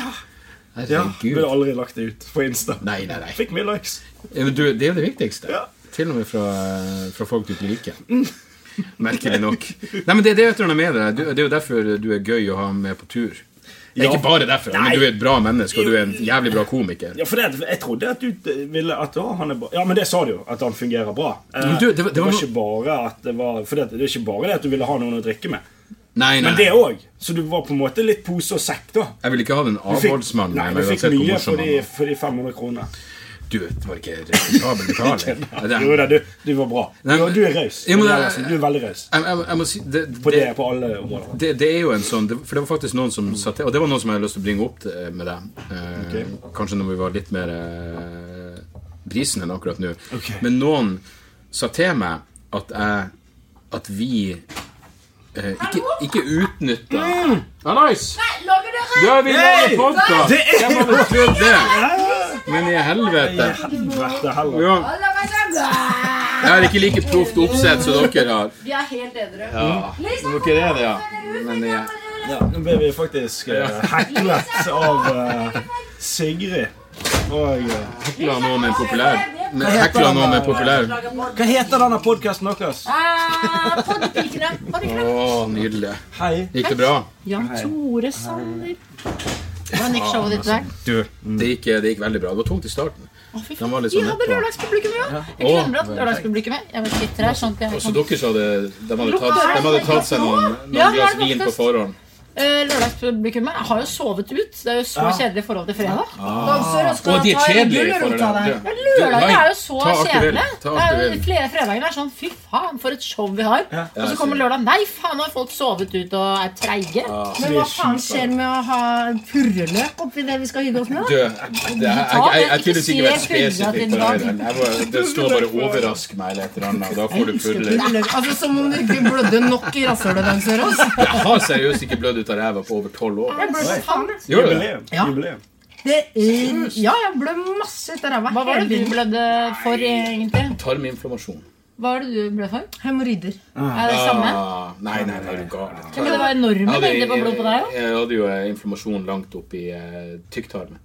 [SPEAKER 1] Herregud.
[SPEAKER 2] Ville aldri lagt det ut på Insta.
[SPEAKER 1] Nei, nei, nei.
[SPEAKER 2] Fikk mye likes.
[SPEAKER 1] Ja, men du, det er jo det viktigste.
[SPEAKER 2] Ja.
[SPEAKER 1] Til og med fra, fra folk du ikke liker. Merkelig nok. Nei, men Det, det er jo et eller annet med deg. Du- det er jo derfor du er gøy å ha med på tur. Det er
[SPEAKER 2] Ja.
[SPEAKER 1] Ikke bare derfor,
[SPEAKER 2] Nei.
[SPEAKER 1] men du er et bra menneske, og du er en jævlig bra komiker.
[SPEAKER 2] Ja, for det, Jeg trodde at du ville at å, han er bra. Ja, men det sa du jo. At han fungerer bra. Eh,
[SPEAKER 1] Men du, det var- det var noe-
[SPEAKER 2] ikke bare at det var For det, det er ikke bare det at du ville ha noen å drikke med.
[SPEAKER 1] Nei, nei,
[SPEAKER 2] Men det
[SPEAKER 1] nei.
[SPEAKER 2] òg. Så du var på en måte litt pose og sekk, da.
[SPEAKER 1] Jeg vil ikke ha den
[SPEAKER 2] Du fikk-
[SPEAKER 1] avholdsmannen
[SPEAKER 2] Nei,
[SPEAKER 1] med
[SPEAKER 2] du
[SPEAKER 1] meg,
[SPEAKER 2] fikk
[SPEAKER 1] uansett hvor
[SPEAKER 2] mye
[SPEAKER 1] morsom
[SPEAKER 2] for
[SPEAKER 1] han
[SPEAKER 2] de,
[SPEAKER 1] var.
[SPEAKER 2] for de 500 kroner.
[SPEAKER 1] Du, det var ikke respektabel betaling. Nei,
[SPEAKER 2] Jo da,
[SPEAKER 1] det-
[SPEAKER 2] du, du var bra.
[SPEAKER 1] Nei,
[SPEAKER 2] du,
[SPEAKER 1] men-
[SPEAKER 2] du er raus.
[SPEAKER 1] Jo, men
[SPEAKER 2] Du er
[SPEAKER 1] det-
[SPEAKER 2] raus. Du er veldig raus.
[SPEAKER 1] Jeg, jeg, jeg må si det,
[SPEAKER 2] På, det,
[SPEAKER 1] det,
[SPEAKER 2] på alle områder.
[SPEAKER 1] det, det er jo en sånn det, For det var faktisk noen som satt Og det var noen som jeg hadde lyst til å bringe opp til- med deg. Eh, Kanskje når vi var litt mer eh, brisen enn akkurat nå.
[SPEAKER 2] Ok.
[SPEAKER 1] Men noen sa til meg at jeg At vi eh, ikke, ikke utnytta Ja, nice!
[SPEAKER 5] Lager dere?
[SPEAKER 1] Da er vi lager
[SPEAKER 2] Mm. Hey!
[SPEAKER 1] podkast!
[SPEAKER 2] Det er
[SPEAKER 1] Hvem hadde trodd det? Men i helvete.
[SPEAKER 2] Helvete heller.
[SPEAKER 1] Ja,
[SPEAKER 5] Alle er sammen.
[SPEAKER 1] jeg har ikke like proft oppsett som dere har.
[SPEAKER 5] Vi er helt edre.
[SPEAKER 1] Ja,
[SPEAKER 5] Lisa,
[SPEAKER 1] dere er det, ja. Men jeg,
[SPEAKER 2] Ja, nå ble vi faktisk eh, heklet av eh, Sigrid. Og eh,
[SPEAKER 1] hekla noen er populær. Men hekla noen er populær.
[SPEAKER 2] Hva heter denne podkasten deres?
[SPEAKER 5] Ah, Poddepikene. Har du
[SPEAKER 1] Å,
[SPEAKER 5] ikke det?
[SPEAKER 1] nydelig.
[SPEAKER 2] Hei.
[SPEAKER 1] Gikk det bra?
[SPEAKER 5] Jan Tore Sanner. Hvordan gikk showet ditt der?
[SPEAKER 1] Du, det gikk, det gikk veldig bra. Det var tungt i starten.
[SPEAKER 5] Mm. Å, fy
[SPEAKER 1] Den
[SPEAKER 5] faen.
[SPEAKER 1] var litt
[SPEAKER 5] Vi
[SPEAKER 1] sånn
[SPEAKER 5] hadde
[SPEAKER 1] nedpå.
[SPEAKER 5] lørdagspublikum, ja. Jeg
[SPEAKER 1] Å,
[SPEAKER 5] glemmer at lørdagspublikummet Jeg var sitter her, sånn at jeg
[SPEAKER 1] Og så dere sa det, de hadde tatt, de hadde tatt seg noen,
[SPEAKER 5] Ja,
[SPEAKER 1] noen glass
[SPEAKER 5] det var
[SPEAKER 1] vin på
[SPEAKER 5] faktisk-
[SPEAKER 1] forhånd.
[SPEAKER 5] Eh, Lørdagspublikummet har jo sovet ut. Det er jo så
[SPEAKER 2] Ja.
[SPEAKER 5] kjedelig i forhold til fredag.
[SPEAKER 2] Ah,
[SPEAKER 5] Dagsør, og skal
[SPEAKER 1] Og de er
[SPEAKER 5] ta en
[SPEAKER 1] kjedelige i
[SPEAKER 5] gulrot
[SPEAKER 1] forhold
[SPEAKER 5] av
[SPEAKER 1] til det.
[SPEAKER 5] det. Ja, Lørdagen
[SPEAKER 1] Nei,
[SPEAKER 5] er jo sånn. så
[SPEAKER 1] ta alt du vil.
[SPEAKER 5] kjedelig.
[SPEAKER 1] Ta
[SPEAKER 5] Det
[SPEAKER 1] alt du
[SPEAKER 5] er jo
[SPEAKER 1] vil.
[SPEAKER 5] Flere fredager er sånn fy faen, for et show vi har.
[SPEAKER 2] Ja.
[SPEAKER 5] Og så kommer lørdag. Nei, faen, nå har folk sovet ut og er treige.
[SPEAKER 6] Men hva faen skjer med å ha purreløp oppi det vi skal hygge oss med?
[SPEAKER 1] Du,
[SPEAKER 6] da?
[SPEAKER 1] det, jeg, jeg, jeg, jeg tydeligvis ikke vet spesifikt hva det er. Jeg var- Det står bare 'overrask meg' eller et eller annet, og da får du pudler.
[SPEAKER 6] Purreløp. Altså, Som om du ikke blødde nok i rasshølet deres, Sørås.
[SPEAKER 1] Jeg har seriøst ikke blødd ut av ræva på over tolv år.
[SPEAKER 6] Jeg blødde faen ut.
[SPEAKER 1] Gjør du det?
[SPEAKER 2] Jubileum.
[SPEAKER 6] Ja.
[SPEAKER 2] Jubileum.
[SPEAKER 6] Det er, ja, jeg blødde masse ut av ræva.
[SPEAKER 5] Hva var det
[SPEAKER 6] hele
[SPEAKER 5] du
[SPEAKER 6] tiden.
[SPEAKER 5] blødde for, egentlig?
[SPEAKER 1] Tarminflammasjon.
[SPEAKER 5] Hva var det du blødde for?
[SPEAKER 6] Hemoroider.
[SPEAKER 5] Er det det samme?
[SPEAKER 1] Ah, nei, nei, nei, er du gal.
[SPEAKER 5] Men det var enorme
[SPEAKER 1] Jeg hadde-
[SPEAKER 5] mengder på blod på deg òg.
[SPEAKER 1] Jeg hadde jo eh, inflammasjon langt opp i eh, tykktarmen.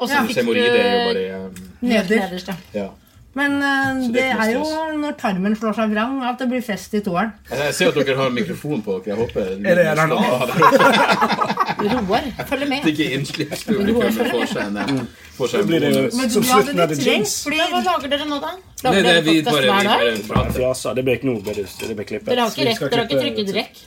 [SPEAKER 5] Og så
[SPEAKER 1] Ja.
[SPEAKER 5] fikk du
[SPEAKER 1] Hemoroider er jo bare eh,
[SPEAKER 5] helt
[SPEAKER 6] Neder.
[SPEAKER 5] nederst, ja.
[SPEAKER 1] Ja.
[SPEAKER 6] Men eh,
[SPEAKER 1] Så det
[SPEAKER 6] det
[SPEAKER 1] er ikke
[SPEAKER 6] er
[SPEAKER 1] noe
[SPEAKER 6] jo når tarmen slår seg vrang, at det blir fest i toeren.
[SPEAKER 1] Jeg ser at dere har mikrofon på dere. Jeg håper
[SPEAKER 2] Er det den
[SPEAKER 1] Ja,
[SPEAKER 2] av?
[SPEAKER 1] det er
[SPEAKER 5] Roar, følg med.
[SPEAKER 1] ikke innslippspublikum som får seg en eh, får seg en
[SPEAKER 2] Mm. Blir det jo
[SPEAKER 1] bonus.
[SPEAKER 2] som
[SPEAKER 6] Ja, det
[SPEAKER 2] slutten av
[SPEAKER 6] det
[SPEAKER 2] The
[SPEAKER 6] trengs,
[SPEAKER 2] Jinx?
[SPEAKER 5] Men Hva
[SPEAKER 6] fordi
[SPEAKER 5] lager dere nå, da?
[SPEAKER 1] Nei, det
[SPEAKER 5] Lager
[SPEAKER 1] er
[SPEAKER 5] dere
[SPEAKER 1] vi
[SPEAKER 5] podcast
[SPEAKER 1] bare, vi
[SPEAKER 5] hver dag?
[SPEAKER 1] bare prater.
[SPEAKER 2] Fjasa. altså, Det ble ikke noe, det ble- det ble klippet.
[SPEAKER 5] Dere har ikke
[SPEAKER 2] Vi
[SPEAKER 5] rett,
[SPEAKER 2] skal
[SPEAKER 5] dere har ikke
[SPEAKER 2] klippe-
[SPEAKER 5] trykket rekk?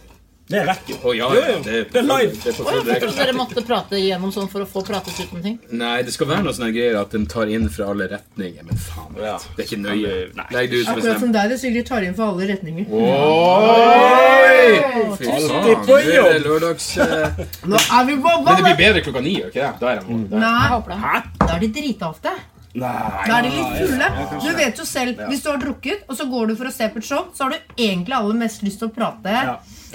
[SPEAKER 2] Det er rekk, jo.
[SPEAKER 1] Å, ja,
[SPEAKER 2] Jo,
[SPEAKER 1] ja,
[SPEAKER 2] jo.
[SPEAKER 1] det, er
[SPEAKER 2] Det er live.
[SPEAKER 1] Det er på
[SPEAKER 5] Å, jeg
[SPEAKER 1] full
[SPEAKER 5] trodde dere måtte prate igjennom sånn for å få pratet ut om ting.
[SPEAKER 1] Nei, det skal være noe sånne greier at den tar inn fra alle retninger. Men faen, vet
[SPEAKER 2] Ja.
[SPEAKER 1] du. det er ikke nøye.
[SPEAKER 2] Nei.
[SPEAKER 1] Legg det ut som sånn-
[SPEAKER 6] akkurat
[SPEAKER 1] bestemmer.
[SPEAKER 6] som deg, det Sigrid tar inn for alle retninger.
[SPEAKER 1] Oi! Fy faen,
[SPEAKER 2] på
[SPEAKER 1] nå er det
[SPEAKER 2] jobb.
[SPEAKER 1] lørdags... eh,
[SPEAKER 6] Nå er vi på
[SPEAKER 1] Men det blir
[SPEAKER 6] ballen!
[SPEAKER 1] bedre klokka ni, gjør ikke det? Da er jeg mål. Da er jeg-
[SPEAKER 5] Jeg
[SPEAKER 6] Nei,
[SPEAKER 5] håper det.
[SPEAKER 6] da er de drita ofte.
[SPEAKER 2] Nei.
[SPEAKER 6] Da er de litt fulle. Du vet jo selv, hvis du har drukket, og så går du for å se på et show, så har du egentlig aller mest lyst til å prate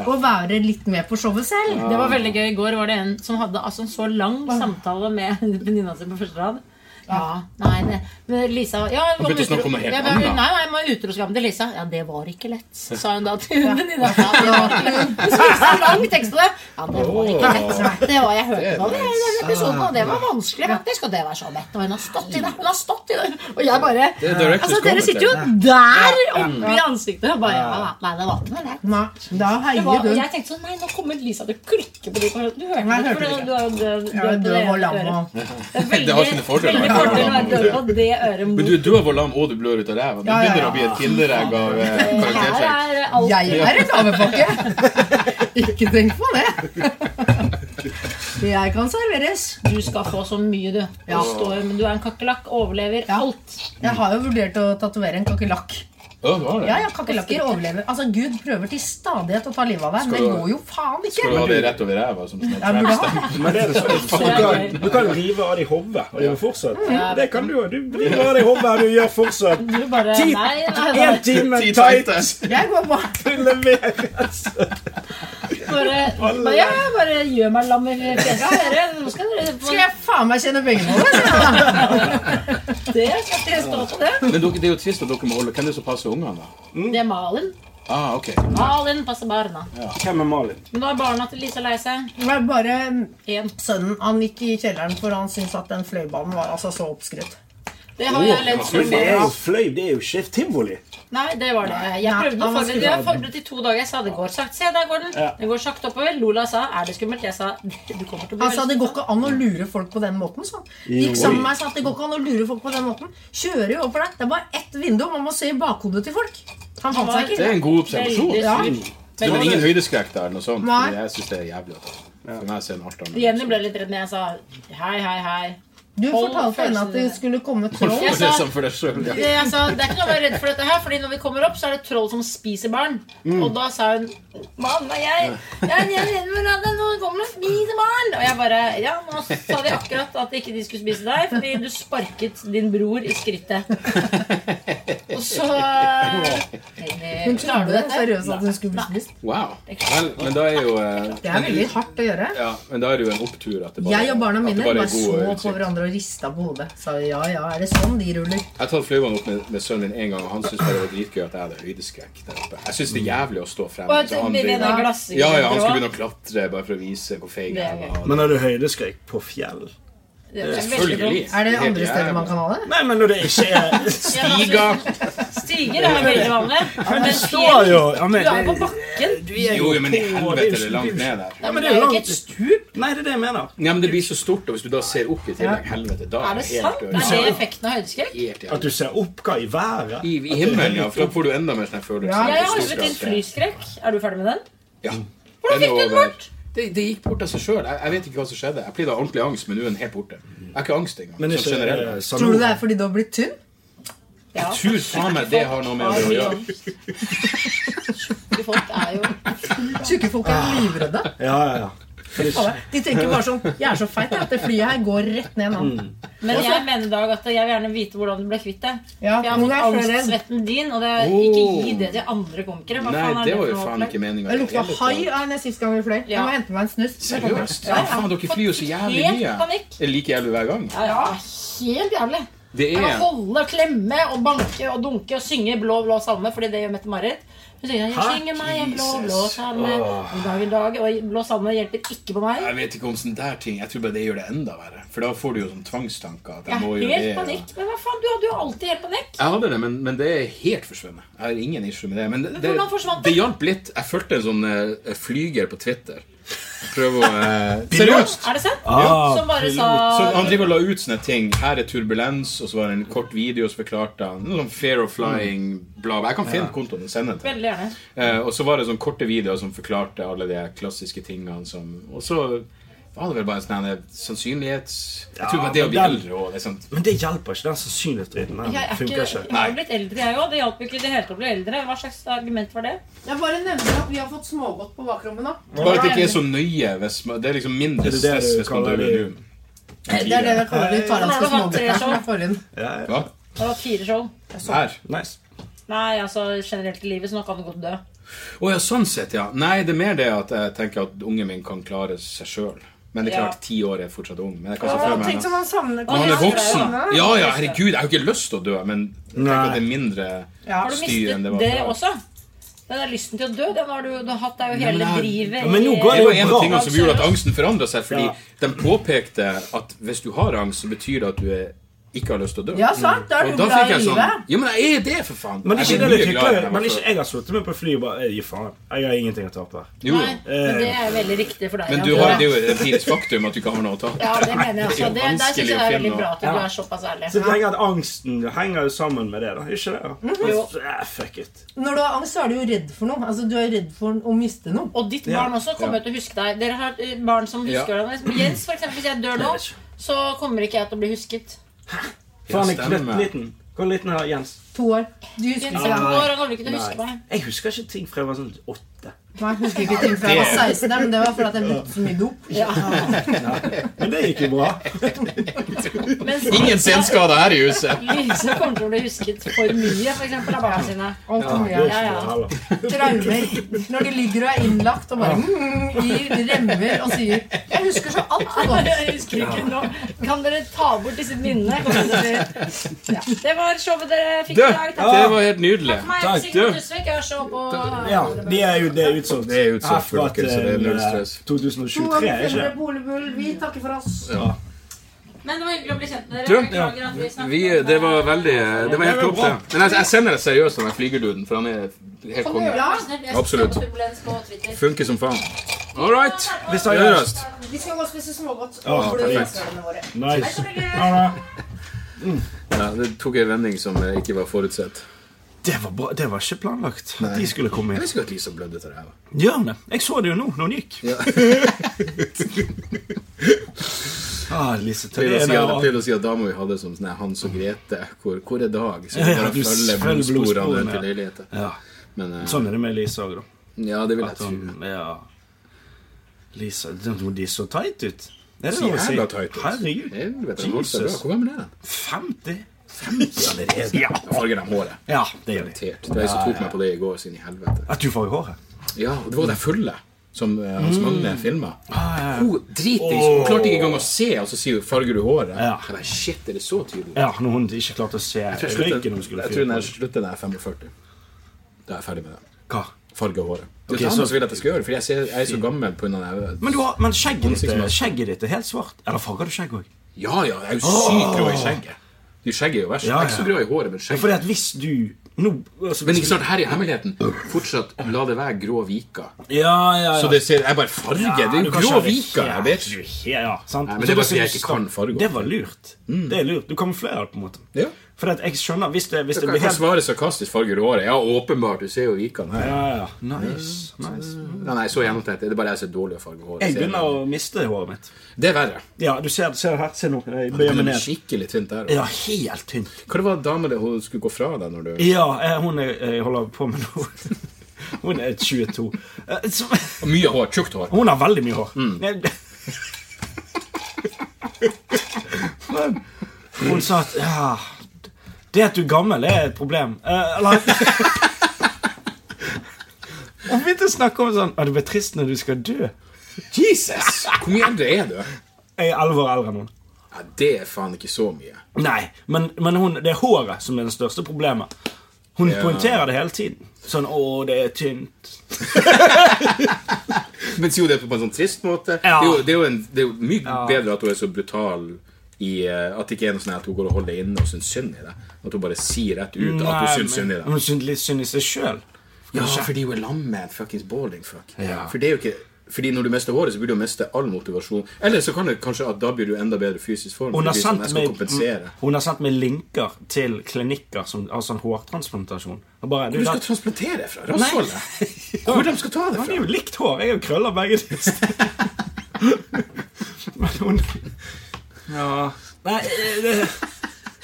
[SPEAKER 6] og være litt med på showet selv.
[SPEAKER 5] Det var veldig gøy. I går var det en som hadde altså, en så lang samtale med venninna si på første rad. Ja, nei, det men Lisa ja,
[SPEAKER 1] Hun begynte å snakke om noe helt
[SPEAKER 5] ja,
[SPEAKER 1] annet, da.
[SPEAKER 5] Nei, nei, om utroskapen til Lisa. Ja, det var ikke lett, sa hun da til venninna. Ja, det var ikke lett. Men Så fikk hun lang tekst på det. Ja, det var ikke lett. Det var jeg hørte
[SPEAKER 1] Det er
[SPEAKER 5] på det i den episoden, og det var vanskelig faktisk. Og det var så lett. Og hun har stått i det. Hun har stått i det. Og jeg bare
[SPEAKER 1] Det er director's
[SPEAKER 5] Altså, dere sitter jo der oppe i ansiktet. Og bare, ja, da. nei, det var ikke noe lett.
[SPEAKER 6] Nei, da
[SPEAKER 5] Det var,
[SPEAKER 6] heier
[SPEAKER 5] og
[SPEAKER 6] hun.
[SPEAKER 5] jeg tenkte sånn, nei, nå kommer Lisa til å klikke på de på Du hører
[SPEAKER 6] Nei,
[SPEAKER 5] ikke,
[SPEAKER 6] jeg
[SPEAKER 5] for
[SPEAKER 6] hørte
[SPEAKER 5] du- du har jo død
[SPEAKER 6] Ja, du er lamma.
[SPEAKER 1] Det har sine fordeler.
[SPEAKER 5] Veldig fordel å være død på det øret
[SPEAKER 1] Men
[SPEAKER 5] mot.
[SPEAKER 1] du, du er vår lam, og du blør ut av ræva. Det
[SPEAKER 6] Ja, ja,
[SPEAKER 1] begynner
[SPEAKER 6] ja.
[SPEAKER 1] å bli et kinderegg av eh,
[SPEAKER 5] Her
[SPEAKER 1] karaktersjekk.
[SPEAKER 5] er alt.
[SPEAKER 6] Jeg er et gavepakke. Ikke tenk på det. Jeg kan serveres.
[SPEAKER 5] Du skal få så mye, du. Du står, men du er en kakerlakk. Overlever
[SPEAKER 6] Ja.
[SPEAKER 5] alt.
[SPEAKER 6] Jeg har jo vurdert å tatovere en kakerlakk.
[SPEAKER 1] Ja, du har det.
[SPEAKER 6] Ja, ja, kakerlakker overlever. Altså, Gud prøver til stadighet å ta livet av deg, men
[SPEAKER 1] Skal
[SPEAKER 6] det
[SPEAKER 1] du-
[SPEAKER 6] går jo faen ikke.
[SPEAKER 1] Skal du ha det rett over ræva som sånn
[SPEAKER 6] Jeg burde ha
[SPEAKER 2] Men det er det sånn.
[SPEAKER 5] Så jeg,
[SPEAKER 2] Du kan rive av de hodet, og de vil fortsette. Det kan du jo. Du river av de hodet, og du gjør fortsatt.
[SPEAKER 5] du bare,
[SPEAKER 2] Ti-
[SPEAKER 5] nei, nei,
[SPEAKER 2] En
[SPEAKER 5] nei.
[SPEAKER 2] time
[SPEAKER 1] Ti
[SPEAKER 2] tights
[SPEAKER 1] tighte.
[SPEAKER 6] Jeg går bare
[SPEAKER 2] leveres.
[SPEAKER 5] Bare, bare, ja, ja, bare gjør meg lam i fjeset. dere. Nå skal dere
[SPEAKER 6] Skal jeg faen meg tjene penger på det? sier jeg da.
[SPEAKER 5] Det skal dere stå på det.
[SPEAKER 1] Men dere, det er jo trist at dere må holde Hvem er det som passer ungene, da?
[SPEAKER 5] Det er Malin.
[SPEAKER 1] Ah, ok.
[SPEAKER 5] Malin passer barna.
[SPEAKER 2] Hvem er Malin?
[SPEAKER 5] Men nå er barna til Lisa lei seg.
[SPEAKER 6] Det var bare
[SPEAKER 5] En.
[SPEAKER 6] sønnen han gikk i kjelleren, for han syntes at den fløibanen var altså så oppskrytt.
[SPEAKER 5] Det har jeg ledd
[SPEAKER 2] Men
[SPEAKER 5] som
[SPEAKER 2] det er
[SPEAKER 5] barn.
[SPEAKER 2] jo fløy, det er jo ikke tivoli.
[SPEAKER 5] Nei, det var det. Jeg
[SPEAKER 6] Nei,
[SPEAKER 5] prøvde å
[SPEAKER 6] han var
[SPEAKER 5] forberede, jeg forberedte i to dager. Jeg sa det går sakte. Se, der går den.
[SPEAKER 2] Ja.
[SPEAKER 5] Den går sakte oppover. Lola sa er det skummelt. Jeg sa du kommer til å bli
[SPEAKER 6] Han sa det går ikke an å lure folk på den måten. Sånn. Gikk sammen med meg og sa at det går ikke an å lure folk på den måten. Kjører jo oppover der. Det er bare ett vindu. Man må se i bakhodet til folk. Han fant seg
[SPEAKER 1] Det
[SPEAKER 6] ikke.
[SPEAKER 1] er en god observasjon.
[SPEAKER 5] veldig
[SPEAKER 6] Ja.
[SPEAKER 5] sur.
[SPEAKER 1] Det er vel ingen høydeskrekk der, eller noe sånt.
[SPEAKER 6] Nei.
[SPEAKER 1] Fordi Jeg syns det er jævlig. at- For meg ser den alt annet.
[SPEAKER 5] Jenny ble litt redd når jeg sa hei, hei, hei.
[SPEAKER 6] Du
[SPEAKER 5] Hold
[SPEAKER 6] fortalte henne at det
[SPEAKER 5] følelsen.
[SPEAKER 6] skulle komme troll.
[SPEAKER 5] Jeg
[SPEAKER 1] Det er
[SPEAKER 5] sa,
[SPEAKER 1] sånn for deg selv, ja.
[SPEAKER 5] det, jeg sa det er ikke noe å være redd for dette her, Fordi når vi kommer opp, så er det troll som spiser barn.
[SPEAKER 1] Mm.
[SPEAKER 5] Og da sa hun Mann, hva er jeg? Jeg er jeg er redd for at det nå kommer og spiser barn. Og jeg bare Ja, nå sa de akkurat at ikke de skulle spise deg, fordi du sparket din bror i skrittet. Og Så eh,
[SPEAKER 6] Hun
[SPEAKER 5] Klarer du
[SPEAKER 6] trodde
[SPEAKER 5] dette?
[SPEAKER 6] seriøst at hun skulle bli spist.
[SPEAKER 1] Wow. Vel, men da er jo eh,
[SPEAKER 6] Det er veldig hardt å gjøre.
[SPEAKER 1] ja, Men da er det jo en opptur at det bare
[SPEAKER 6] Jeg og barna
[SPEAKER 1] at det
[SPEAKER 6] mine bare
[SPEAKER 1] er
[SPEAKER 6] så
[SPEAKER 1] god
[SPEAKER 6] på
[SPEAKER 1] utsikt.
[SPEAKER 6] hverandre og rista på hodet. Sa ja, ja, er det sånn de ruller?
[SPEAKER 1] Jeg har tatt flyvene opp med, med sønnen min en gang, og han syntes bare det var dritgøy at jeg hadde høydeskrekk der oppe. Jeg syns det er jævlig å stå frem.
[SPEAKER 5] Og jeg
[SPEAKER 1] så han
[SPEAKER 5] tror vi
[SPEAKER 1] driver-
[SPEAKER 5] vinner glass.
[SPEAKER 1] ja, ja, han skulle begynne å klatre bare for å vise hvor feig
[SPEAKER 5] Det er
[SPEAKER 1] jeg
[SPEAKER 5] gøy.
[SPEAKER 1] var.
[SPEAKER 2] Men har du høydeskrekk på fjell?
[SPEAKER 5] Det er veldig
[SPEAKER 1] Selvfølgelig.
[SPEAKER 5] dumt.
[SPEAKER 6] Er det
[SPEAKER 1] Helt
[SPEAKER 6] andre steder
[SPEAKER 1] jævlig.
[SPEAKER 6] man kan ha det?
[SPEAKER 2] Nei, men når det ikke er
[SPEAKER 1] Stiger!
[SPEAKER 5] altså, Stiger er veldig vanlig. Men
[SPEAKER 2] Du står jo ja, men,
[SPEAKER 5] Du er på
[SPEAKER 2] det-
[SPEAKER 5] bakken.
[SPEAKER 2] Du er
[SPEAKER 1] Jo, jo, men i
[SPEAKER 2] på-
[SPEAKER 1] helvete
[SPEAKER 2] det
[SPEAKER 1] det
[SPEAKER 2] er
[SPEAKER 1] er
[SPEAKER 2] jo
[SPEAKER 1] langt
[SPEAKER 2] ikke-
[SPEAKER 1] ned der.
[SPEAKER 2] Ja,
[SPEAKER 5] Men det er jo ikke et
[SPEAKER 2] langt-
[SPEAKER 5] stup.
[SPEAKER 2] Nei, det er det jeg mener.
[SPEAKER 1] Ja, men det blir så stort, og hvis du da ser opp i tillegg, helvete, da
[SPEAKER 5] Er det sant?
[SPEAKER 1] helt
[SPEAKER 5] Er det effekten av høydeskrekk?
[SPEAKER 1] Helt
[SPEAKER 2] At
[SPEAKER 1] jævlig.
[SPEAKER 2] du ser opp hva i været.
[SPEAKER 1] I, I himmelen, ja, for da får du enda mer sånn følelse.
[SPEAKER 6] Ja,
[SPEAKER 5] Jeg har
[SPEAKER 1] Stor
[SPEAKER 5] arvet din
[SPEAKER 1] skrat, ja.
[SPEAKER 5] flyskrekk. Er du ferdig med den?
[SPEAKER 1] Ja.
[SPEAKER 5] Hvordan
[SPEAKER 1] Den er
[SPEAKER 5] fikk du den
[SPEAKER 1] over.
[SPEAKER 5] bort?
[SPEAKER 1] Det, det gikk bort av seg sjøl. Jeg, jeg vet ikke hva som skjedde. Jeg pleide å ha ordentlig angst, men nå er den helt borte. Jeg har ikke angst engang.
[SPEAKER 2] Men
[SPEAKER 1] sånn
[SPEAKER 2] ikke
[SPEAKER 1] generelt.
[SPEAKER 2] eh,
[SPEAKER 6] Tror du det
[SPEAKER 2] Sanoma.
[SPEAKER 6] er fordi du har blitt tynn?
[SPEAKER 5] Ja.
[SPEAKER 1] Tror faen meg det har noe med det å gjøre.
[SPEAKER 5] Tjukke folk er jo
[SPEAKER 6] Tjukke folk
[SPEAKER 1] Ah.
[SPEAKER 6] er livredde.
[SPEAKER 2] Ja, ja, ja.
[SPEAKER 6] Alle. De tenker bare sånn Jeg er så feit jeg, at det flyet her går rett ned nå.
[SPEAKER 1] Mm.
[SPEAKER 5] Men jeg mener i dag at jeg vil gjerne vite hvordan du ble kvitt det.
[SPEAKER 6] Ja,
[SPEAKER 5] For jeg
[SPEAKER 6] noen
[SPEAKER 5] har
[SPEAKER 6] ganger
[SPEAKER 5] fått
[SPEAKER 6] føler jeg-
[SPEAKER 5] angstsvetten din, og det ikke
[SPEAKER 1] Oh.
[SPEAKER 5] gi det til andre komikere. Hva
[SPEAKER 1] Nei,
[SPEAKER 5] faen er
[SPEAKER 1] det var
[SPEAKER 5] for
[SPEAKER 1] jo
[SPEAKER 5] noe
[SPEAKER 1] faen
[SPEAKER 5] opplegg?
[SPEAKER 1] ikke meninga.
[SPEAKER 6] Jeg lukta hai
[SPEAKER 5] altså.
[SPEAKER 6] av henne sist gang vi fløy. Jeg
[SPEAKER 5] Ja.
[SPEAKER 6] må hente meg en snus.
[SPEAKER 1] Seriøst? Ja, faen, dere flyr jo så jævlig
[SPEAKER 5] Helt
[SPEAKER 1] mye.
[SPEAKER 5] panikk.
[SPEAKER 1] Det er like jævlig hver gang.
[SPEAKER 5] Ja, ja, helt jævlig.
[SPEAKER 1] Det
[SPEAKER 5] Jeg
[SPEAKER 1] er
[SPEAKER 5] må holde og klemme og banke og dunke og synge blå, blå salme, fordi det gjør Mette-Marit. Hun synger 'Jeg synger meg en blå, blå
[SPEAKER 1] Jesus.
[SPEAKER 5] salme om dag i dag', og blå salme hjelper ikke på meg.
[SPEAKER 1] Jeg vet ikke om sånne der ting Jeg tror bare det gjør det enda verre. For da får du jo sånn tvangstanker. At jeg må
[SPEAKER 5] Jeg
[SPEAKER 1] jo
[SPEAKER 5] er
[SPEAKER 1] det.
[SPEAKER 5] helt
[SPEAKER 1] og-
[SPEAKER 5] panikk. Men hva faen, du hadde jo alltid helt panikk.
[SPEAKER 1] Jeg hadde det, men, men det er helt forsvunnet. Jeg har ingen issue med det. Men det, det,
[SPEAKER 5] hvordan forsvant
[SPEAKER 1] det
[SPEAKER 5] det?
[SPEAKER 1] hjalp litt. Jeg følte en sånn eh, flyger på Twitter. Prøv å eh, Seriøst!
[SPEAKER 5] Er det sant?
[SPEAKER 2] Ah,
[SPEAKER 5] Som bare sa
[SPEAKER 1] Så han driver og la ut sånne ting. Her er turbulens, og så var det en kort video, og så forklarte han noe sånn fair of flying,
[SPEAKER 2] Mm.
[SPEAKER 1] bla, bla. Jeg kan finne kontoen og sende den til deg.
[SPEAKER 5] Veldig gjerne.
[SPEAKER 1] Eh, og så var det sånn korte videoer som forklarte alle de klassiske tingene som Og så var det vel bare en sånn her sannsynlighets... Jeg tror
[SPEAKER 2] Ja,
[SPEAKER 1] bare det å bli
[SPEAKER 2] men den-
[SPEAKER 1] eldre og det er sånn
[SPEAKER 2] Men det hjelper ikke. Den sannsynlighetsdriten den
[SPEAKER 5] Jeg er ikke,
[SPEAKER 2] funker ikke.
[SPEAKER 5] jeg har blitt eldre, jeg òg. Det hjalp jo ikke i det hele tatt å bli eldre. Hva slags argument var det?
[SPEAKER 6] Jeg bare nevner at vi har fått smågodt på bakrommet nå.
[SPEAKER 1] Bare at det ikke er så nøye. Hvis man, det er liksom
[SPEAKER 2] Er
[SPEAKER 1] mindre
[SPEAKER 2] det det du
[SPEAKER 1] stress hvis man
[SPEAKER 2] kaller
[SPEAKER 1] dør
[SPEAKER 2] det?
[SPEAKER 1] nå.
[SPEAKER 6] Det er det jeg kaller de
[SPEAKER 5] Har
[SPEAKER 6] thailandske
[SPEAKER 5] du hatt tre
[SPEAKER 6] smågodtene
[SPEAKER 5] sånn?
[SPEAKER 6] fra forrige.
[SPEAKER 2] Ja, ja.
[SPEAKER 1] Hva?
[SPEAKER 5] Jeg har hatt fire show.
[SPEAKER 1] Her?
[SPEAKER 2] Nice.
[SPEAKER 5] Nei, altså generelt i livet, så nå kan du godt dø.
[SPEAKER 1] Å ja, sånn sett, ja. Nei, det er mer det at jeg tenker at ungen min kan klare seg sjøl. Men det er
[SPEAKER 5] Ja.
[SPEAKER 1] klart, ti år er fortsatt ung. Men jeg kan se for meg
[SPEAKER 6] Tenk
[SPEAKER 1] henne.
[SPEAKER 6] som han savner
[SPEAKER 1] Men han er
[SPEAKER 5] husker jeg,
[SPEAKER 1] voksen.
[SPEAKER 6] da.
[SPEAKER 1] Ja, ja, herregud, jeg har jo ikke lyst til å dø, men jeg tenker
[SPEAKER 2] Nei.
[SPEAKER 1] at det er mindre
[SPEAKER 6] Ja.
[SPEAKER 5] Har du
[SPEAKER 1] styr enn
[SPEAKER 5] mistet
[SPEAKER 1] det
[SPEAKER 5] det,
[SPEAKER 1] var før.
[SPEAKER 5] også? Den der lysten til å dø, den har du, du har hatt deg jo hele
[SPEAKER 1] men jeg-
[SPEAKER 5] drivet
[SPEAKER 2] Ja, men nå
[SPEAKER 5] i-
[SPEAKER 2] går
[SPEAKER 1] Det var en
[SPEAKER 2] Bra.
[SPEAKER 1] av tingene som gjorde at angsten forandra seg, fordi
[SPEAKER 2] Ja.
[SPEAKER 1] de påpekte at hvis du har angst, så betyr det at du er, ikke har lyst til å dø.
[SPEAKER 6] Ja, sant. Da er
[SPEAKER 1] og
[SPEAKER 6] du
[SPEAKER 1] da
[SPEAKER 6] glad
[SPEAKER 1] fikk
[SPEAKER 6] i
[SPEAKER 1] jeg sånn
[SPEAKER 6] livet.
[SPEAKER 1] Ja, men jeg er det, for faen!
[SPEAKER 2] Men ikke
[SPEAKER 1] jeg
[SPEAKER 2] det
[SPEAKER 1] blir
[SPEAKER 2] du
[SPEAKER 1] mye gladere
[SPEAKER 2] tenker,
[SPEAKER 1] enn
[SPEAKER 2] men
[SPEAKER 1] jeg
[SPEAKER 2] ikke
[SPEAKER 1] var før.
[SPEAKER 2] jeg har sluttet med på fly og bare eh, Gi faen. Jeg har ingenting å tape.
[SPEAKER 1] Jo,
[SPEAKER 5] Nei, men det er veldig riktig for deg.
[SPEAKER 1] men du
[SPEAKER 5] Jan.
[SPEAKER 1] har, det er jo et empirisk faktum at du ikke har noe å ta.
[SPEAKER 5] Ja, det mener jeg
[SPEAKER 1] Det er jo
[SPEAKER 5] også. Det, der synes
[SPEAKER 1] vanskelig
[SPEAKER 5] jeg
[SPEAKER 1] å
[SPEAKER 5] det er veldig
[SPEAKER 1] finne
[SPEAKER 5] bra at du
[SPEAKER 2] Ja.
[SPEAKER 5] er såpass ærlig.
[SPEAKER 2] Så jeg tenker at angsten henger jo sammen med det, da. Ikke det? da?
[SPEAKER 5] Jo.
[SPEAKER 2] Eh, Fuck it.
[SPEAKER 6] Når du har angst, så er du jo redd for noe. Altså, Du er redd for å miste noe.
[SPEAKER 5] Og ditt
[SPEAKER 2] Ja.
[SPEAKER 5] barn også kommer jo til å huske deg. Dere har eh, barn som husker deg. Men Jens, for eksempel, hvis jeg dør nå, så kommer ikke jeg til å bli husket.
[SPEAKER 2] Faen, jeg
[SPEAKER 1] stemmer.
[SPEAKER 2] knøtt liten. Hvor liten er Jens?
[SPEAKER 6] To år. Du husker
[SPEAKER 5] Jens
[SPEAKER 6] ikke
[SPEAKER 5] er to
[SPEAKER 6] det.
[SPEAKER 5] år, han kommer ikke til å huske meg.
[SPEAKER 2] Jeg husker ikke ting fra jeg var sånn åtte.
[SPEAKER 6] Nei, jeg husker ikke ting fra jeg var 16 der, men det var fordi at jeg brukte så mye dop.
[SPEAKER 2] Men det gikk jo bra.
[SPEAKER 5] Mens
[SPEAKER 1] Ingen senskader her i huset.
[SPEAKER 5] Lyse kommer til å bli husket for mye, for eksempel, av barna sine.
[SPEAKER 6] Alt for
[SPEAKER 2] Det er
[SPEAKER 6] mye.
[SPEAKER 2] ikke
[SPEAKER 5] Ja, ja.
[SPEAKER 2] bra heller.
[SPEAKER 6] Traumer. Når de ligger og er innlagt og bare mm, gir remmer og sier 'Jeg husker så altfor godt'.
[SPEAKER 5] Jeg husker ikke nå. Kan dere ta bort disse minnene? Kan dere- Ja. Det var showet dere fikk i
[SPEAKER 1] Du,
[SPEAKER 5] dag. Takk
[SPEAKER 1] det var helt nydelig.
[SPEAKER 5] for meg.
[SPEAKER 2] Takk,
[SPEAKER 5] Sigmund
[SPEAKER 1] du.
[SPEAKER 5] Tusvik, jeg har show på
[SPEAKER 2] Ja, de er jo det er utsolgt.
[SPEAKER 1] Det er utsolgt for
[SPEAKER 2] Herfra
[SPEAKER 1] dere, så det er
[SPEAKER 2] til,
[SPEAKER 1] null
[SPEAKER 2] eh,
[SPEAKER 1] stress.
[SPEAKER 2] 2023, er ikke det?
[SPEAKER 6] Vi takker for oss.
[SPEAKER 5] Men det var hyggelig å bli kjent med
[SPEAKER 1] Du,
[SPEAKER 5] dere. Beklager at vi snakket
[SPEAKER 1] Vi,
[SPEAKER 5] om
[SPEAKER 1] det var veldig Det var helt topp, det. Men jeg, jeg sender det seriøst til den flygeluden, for han er helt konge.
[SPEAKER 6] Ja,
[SPEAKER 1] Absolutt. Funker som faen. All right.
[SPEAKER 2] Vi
[SPEAKER 1] Seriøst.
[SPEAKER 6] vi skal gå og spise smågodt.
[SPEAKER 2] Ja,
[SPEAKER 6] for det er
[SPEAKER 1] perfekt.
[SPEAKER 6] gjestene våre.
[SPEAKER 2] Nice. Ha det.
[SPEAKER 1] Ja, det tok en vending som eh, ikke var forutsett.
[SPEAKER 2] Det var, bra. det var ikke planlagt at de skulle komme
[SPEAKER 1] Jeg
[SPEAKER 2] inn.
[SPEAKER 1] visste ikke at Lisa blødde til det her.
[SPEAKER 2] Gjør det. Jeg så det jo nå når hun gikk.
[SPEAKER 1] Ja.
[SPEAKER 2] ah, Lise
[SPEAKER 1] Pleide å si at,
[SPEAKER 2] Tøyen.
[SPEAKER 1] pleide å si at da må vi ha det som sånn her Hans og Grete. Hvor, hvor er Dag? Så vi
[SPEAKER 2] Ja,
[SPEAKER 1] bare
[SPEAKER 2] du
[SPEAKER 1] følger
[SPEAKER 2] følger
[SPEAKER 1] blodsporene
[SPEAKER 2] blodsporene,
[SPEAKER 1] til
[SPEAKER 2] ja.
[SPEAKER 1] leiligheten.
[SPEAKER 2] Ja.
[SPEAKER 1] Men eh,
[SPEAKER 2] Sånn er det med Lise òg, da.
[SPEAKER 1] ja, det vil jeg
[SPEAKER 2] At
[SPEAKER 1] tro.
[SPEAKER 2] hun ja. Lise de- De så tight ut. Er det
[SPEAKER 1] Så
[SPEAKER 2] noe å si?
[SPEAKER 1] jævla tight ut.
[SPEAKER 2] Herregud.
[SPEAKER 1] Helvete,
[SPEAKER 2] Jesus.
[SPEAKER 1] Hvor gammel er den?
[SPEAKER 2] 50? Allerede? Ja.
[SPEAKER 1] Farger dem håret.
[SPEAKER 2] ja, det gjør de.
[SPEAKER 1] Irritert. Det er jeg som tok meg på det i går, siden i helvete.
[SPEAKER 2] At du får i håret.
[SPEAKER 1] Ja, og det var det fulle som eh, Hans Magne filma.
[SPEAKER 2] Mm. Ah, ja, ja.
[SPEAKER 1] Hun dritings. Hun klarte ikke engang å se, og så sier hun 'farger du håret'?
[SPEAKER 2] Ja.
[SPEAKER 1] Jeg bare, Shit, er det så tydelig?
[SPEAKER 2] Ja, når hun ikke klarte å se
[SPEAKER 1] Jeg tror jeg
[SPEAKER 2] røyken hun
[SPEAKER 1] slutter-
[SPEAKER 2] skulle
[SPEAKER 1] jeg tror
[SPEAKER 2] fyre
[SPEAKER 1] når jeg
[SPEAKER 2] på.
[SPEAKER 1] slutter når jeg er 45. Da er jeg ferdig med det.
[SPEAKER 2] Hva?
[SPEAKER 1] Farge håret. Det er sånn som jeg vil at jeg skal gjøre, for jeg, ser, jeg er så gammel på grunn av det.
[SPEAKER 2] Men, du har, men skjegget, ditt,
[SPEAKER 1] Ansiktsmaske.
[SPEAKER 2] skjegget ditt er helt svart. Eller farger du skjegg òg?
[SPEAKER 1] Ja, ja, jeg er jo sykt grå i skjegget. Du, skjegget er jo verst.
[SPEAKER 2] Ja,
[SPEAKER 1] Jeg er ikke så
[SPEAKER 2] ja.
[SPEAKER 1] grå i håret, men
[SPEAKER 2] Fordi
[SPEAKER 1] skjegget
[SPEAKER 2] at hvis du nå altså,
[SPEAKER 1] Men ikke sant, her er hemmeligheten. Fortsatt la det være grå viker.
[SPEAKER 2] Ja, ja, ja.
[SPEAKER 1] Så det ser Jeg bare farger!
[SPEAKER 2] Ja,
[SPEAKER 1] det er
[SPEAKER 2] du
[SPEAKER 1] jo
[SPEAKER 2] kan
[SPEAKER 1] grå
[SPEAKER 2] skjære
[SPEAKER 1] viker her,
[SPEAKER 2] helt-
[SPEAKER 1] bitch!
[SPEAKER 2] du he- Ja, sant.
[SPEAKER 1] Nei, men
[SPEAKER 2] Så
[SPEAKER 1] det er bare
[SPEAKER 2] var
[SPEAKER 1] fordi jeg
[SPEAKER 2] så-
[SPEAKER 1] ikke kan farger.
[SPEAKER 2] Det var lurt. Det er lurt. Du kamuflerer det på en måte.
[SPEAKER 1] Ja.
[SPEAKER 2] For at jeg skjønner Hvis det, hvis det
[SPEAKER 1] Jeg
[SPEAKER 2] blir
[SPEAKER 1] kan
[SPEAKER 2] helt
[SPEAKER 1] svare sarkastisk farger i håret. Ja, åpenbart. Du ser jo vikene her.
[SPEAKER 2] Ja, ja. Nice. nice.
[SPEAKER 1] Nei, nei, så gjennomtenkt. Det er bare jeg ser dårlig farge i håret.
[SPEAKER 2] Jeg
[SPEAKER 1] Ser
[SPEAKER 2] begynner
[SPEAKER 1] det.
[SPEAKER 2] å miste håret mitt.
[SPEAKER 1] Det er verre.
[SPEAKER 2] Ja, du ser, ser her. Se nå.
[SPEAKER 1] Det
[SPEAKER 2] Jeg bøyer meg
[SPEAKER 1] er
[SPEAKER 2] ned.
[SPEAKER 1] skikkelig tynt der.
[SPEAKER 2] Ja, helt tynt.
[SPEAKER 1] Hva det var dama di hun skulle gå fra deg når du
[SPEAKER 2] Ja, eh, hun er, jeg holder på med nå. Hun er 22. Eh, så-
[SPEAKER 1] Mye hår. Tjukt hår.
[SPEAKER 2] Hun har veldig mye hår. Men hun sa at ja, Det at du er gammel, er et problem. Eh, eller Hun begynte å snakke om sånn «Ja, Du blir trist når du skal dø.
[SPEAKER 1] Jesus! Hvor mye eldre er du?
[SPEAKER 2] Jeg er elleve år eldre enn hun.
[SPEAKER 1] Ja, det er faen ikke så mye.
[SPEAKER 2] Nei, men, men hun, det er håret som er det største problemet. Hun poengterer det hele tiden. Sånn 'Å, det er tynt'.
[SPEAKER 1] Men sier hun det på en sånn trist måte?
[SPEAKER 2] Ja.
[SPEAKER 1] Det, er jo, det, er jo en, det er jo mye bedre at hun er så brutal i eh, At det ikke er noe sånn at hun går og holder inne og syns synd i det. At hun bare sier rett ut at hun
[SPEAKER 2] Nei,
[SPEAKER 1] syns synd i
[SPEAKER 2] men
[SPEAKER 1] det.
[SPEAKER 2] Hun syns litt synd i seg sjøl.
[SPEAKER 1] Ja, fordi hun er lam med en fuckings balding fuck.
[SPEAKER 2] Ja.
[SPEAKER 1] For det er jo ikke fordi når du mister håret, så burde du miste all motivasjon. Eller så kan det kanskje at da blir du enda bedre i fysisk form.
[SPEAKER 2] Hun har,
[SPEAKER 1] fordi sånn,
[SPEAKER 2] sendt
[SPEAKER 1] jeg skal
[SPEAKER 2] meg,
[SPEAKER 1] kompensere.
[SPEAKER 2] hun har sendt meg linker til klinikker som har sånn hårtransplantasjon. Og bare, du,
[SPEAKER 1] Hvor du
[SPEAKER 2] da,
[SPEAKER 1] skal transplantere fra? Rassholdet? Hvor de skal ta det
[SPEAKER 2] han er
[SPEAKER 1] fra?
[SPEAKER 2] jo likt hår! Jeg har krøller begge steder. Men hun Ja Nei, eh, det,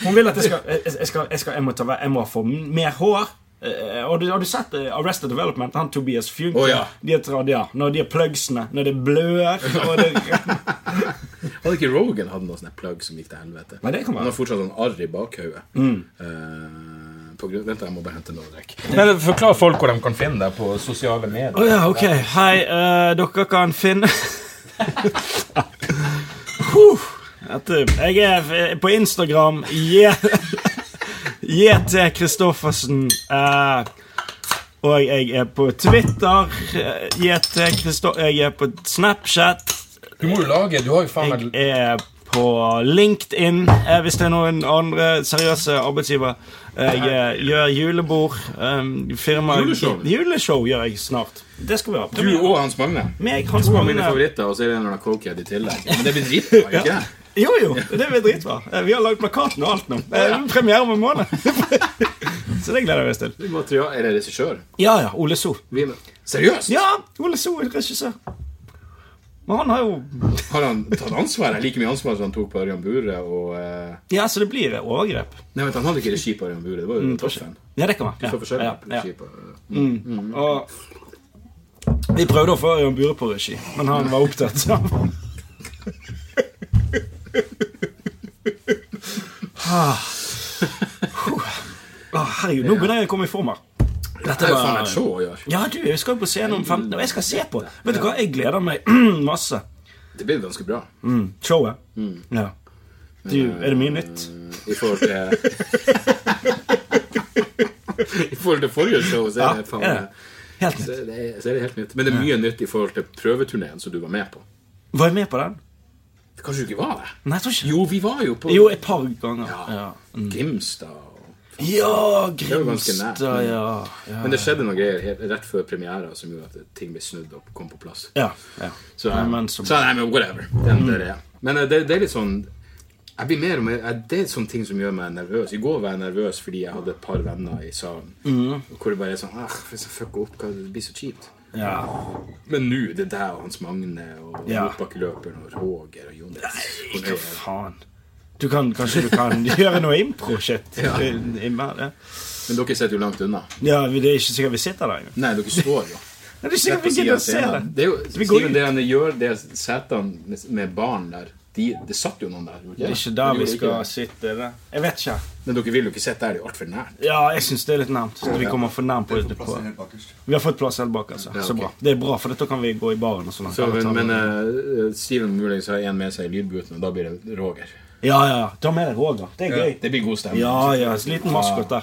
[SPEAKER 2] hun vil at jeg skal Jeg, jeg, skal, jeg, skal, jeg, må, ta, vær- jeg må få mer hår. Eh, og du, Har du sett eh, Arrested Development? Han Tobias Funke.
[SPEAKER 1] Å, ja.
[SPEAKER 2] De er trad, ja. Når de er plugsene, når det blør og det,
[SPEAKER 1] Hadde ikke Rogan hatt noe sånn plagg som gikk til helvete?
[SPEAKER 2] Nei, det kan være. Mm.
[SPEAKER 1] Han har fortsatt sånn arr i bakhauget. Eh, på grunn- Vent, jeg må bare hente noe å drikke. Forklar folk hvor de kan finne deg på sosiale medier.
[SPEAKER 2] Å ja, ok. Hei, eh, dere kan finne Huh. Dette- Jeg er eh, på Instagram. J- JT Kristoffersen. eh, og jeg er på Twitter. eh, JT Kristoffersen. Jeg er på Snapchat.
[SPEAKER 1] Du må jo lage Du har jo faen
[SPEAKER 2] Jeg er på LinkedIn, eh, hvis det er noen andre seriøse arbeidsgivere. Jeg eh, gjør julebord. eh, firma
[SPEAKER 1] Juleshow?
[SPEAKER 2] Juleshow gjør jeg snart. Det skal vi ha.
[SPEAKER 1] Du og Hans Magne.
[SPEAKER 2] Meg, Hans eh,
[SPEAKER 1] To av mine
[SPEAKER 2] Magne.
[SPEAKER 1] favoritter, og så er det en eller annen cokehead i tillegg. Men det blir dritbra, ikke det?
[SPEAKER 2] Jo, jo, det blir dritbra. Eh, Vi har lagd plakaten og alt nå. Eh, Premiere om en måned. Så det gleder jeg meg til.
[SPEAKER 1] Det er material- Er det regissør?
[SPEAKER 2] Ja, ja. Ole So.
[SPEAKER 1] Vi med. Seriøst?
[SPEAKER 2] Ja, Ole So er regissør. Men han har jo
[SPEAKER 1] Har han tatt ansvar? her? Like mye ansvar som han tok på Ørjan Bure og eh,
[SPEAKER 2] Ja, så det blir overgrep.
[SPEAKER 1] Nei, vent, han hadde ikke regi på Ørjan Bure. Det var jo Torstein.
[SPEAKER 2] Ja, det kan være.
[SPEAKER 1] Så forskjellig
[SPEAKER 2] Mm, Ja, ja,
[SPEAKER 1] regi på
[SPEAKER 2] ja. Mm. Og vi prøvde å få Ørjan Bure på regi, men han var opptatt. så han- Ah. Huh. Ah, Herregud, nå begynner jeg å komme i form her.
[SPEAKER 1] Dette er jo faen et show å gjøre.
[SPEAKER 2] Ja, du, jeg skal jo på scenen om 15 og jeg skal se på. Vet du hva, jeg gleder meg masse. Mm.
[SPEAKER 1] Det blir ganske bra.
[SPEAKER 2] Showet.
[SPEAKER 1] Mm.
[SPEAKER 2] Ja. Du,
[SPEAKER 1] Eh,
[SPEAKER 2] er det mye nytt?
[SPEAKER 1] I forhold til I forhold til forrige show, så er det faen
[SPEAKER 2] Ja, ja. Helt
[SPEAKER 1] så
[SPEAKER 2] nytt.
[SPEAKER 1] er det, så er det helt nytt. Men det er mye nytt i forhold til prøveturneen som du var med på.
[SPEAKER 2] Var jeg med på den?
[SPEAKER 1] Kanskje du ikke var det?
[SPEAKER 2] Nei, jeg tror ikke
[SPEAKER 1] Jo, vi var jo på
[SPEAKER 2] Jo, et par ganger. Ja,
[SPEAKER 1] Ja. Grimstad og
[SPEAKER 2] ja
[SPEAKER 1] var ganske nært.
[SPEAKER 2] Grimstad, ja. Ja.
[SPEAKER 1] Men det skjedde noen greier helt, rett før premiera som gjorde at ting ble snudd og kom på plass.
[SPEAKER 2] ja. ja.
[SPEAKER 1] Så,
[SPEAKER 2] Nei, men så-
[SPEAKER 1] så nei, men whatever. Den der er. Men eh, det, det er litt sånn jeg blir mer og mer, eh, Det er sånne ting som gjør meg nervøs. I går var jeg nervøs fordi jeg hadde et par venner i salen.
[SPEAKER 2] Mm.
[SPEAKER 1] Hvor det bare er sånn ah, Hvis jeg fucker opp, hva- det blir så kjipt.
[SPEAKER 2] ja.
[SPEAKER 1] Men nå det er deg og Hans Magne og
[SPEAKER 2] Ja.
[SPEAKER 1] motbakkeløperen og Roger og Jonis. Hvor
[SPEAKER 2] Hva
[SPEAKER 1] nøye er det?
[SPEAKER 2] faen? Du kan, kanskje du kan gjøre noe impro-shit?
[SPEAKER 1] Ja.
[SPEAKER 2] i- i mer, Ja.
[SPEAKER 1] Men dere sitter jo langt unna.
[SPEAKER 2] ja, det er ikke sikkert vi sitter der engang.
[SPEAKER 1] Nei, dere står jo.
[SPEAKER 2] Det er ikke
[SPEAKER 1] Rett
[SPEAKER 2] sikkert
[SPEAKER 1] på
[SPEAKER 2] vi
[SPEAKER 1] siden
[SPEAKER 2] gidder
[SPEAKER 1] av
[SPEAKER 2] å se det.
[SPEAKER 1] scenen. Det er jo,
[SPEAKER 2] Vi går
[SPEAKER 1] Steven,
[SPEAKER 2] ut.
[SPEAKER 1] det han gjør, det er setene med- med barn der de, det satt jo noen der. gjorde
[SPEAKER 2] Det
[SPEAKER 1] det?
[SPEAKER 2] er ikke der
[SPEAKER 1] Dere
[SPEAKER 2] vi
[SPEAKER 1] gjorde
[SPEAKER 2] skal
[SPEAKER 1] ikke det.
[SPEAKER 2] sitte. det. Jeg vet ikke.
[SPEAKER 1] Men dere vil jo ikke sitte der, det er jo altfor nært.
[SPEAKER 2] Ja, jeg syns det er litt nærmt. Så vi kommer for nærmt på,
[SPEAKER 3] Det får
[SPEAKER 2] på.
[SPEAKER 3] plassen helt bakerst.
[SPEAKER 2] Vi har fått plass helt bak, altså.
[SPEAKER 1] Ja,
[SPEAKER 2] Så
[SPEAKER 1] ok.
[SPEAKER 2] bra. Det er bra, for da kan vi gå i baren og sånn.
[SPEAKER 1] Så, men men eh, Steven muligens har en med seg i lydbuten, og da blir det Roger.
[SPEAKER 2] Ja, ja. Ta med deg Roger. Det er gøy.
[SPEAKER 1] Det blir god stemning.
[SPEAKER 2] Ja, ja. En liten maskot der.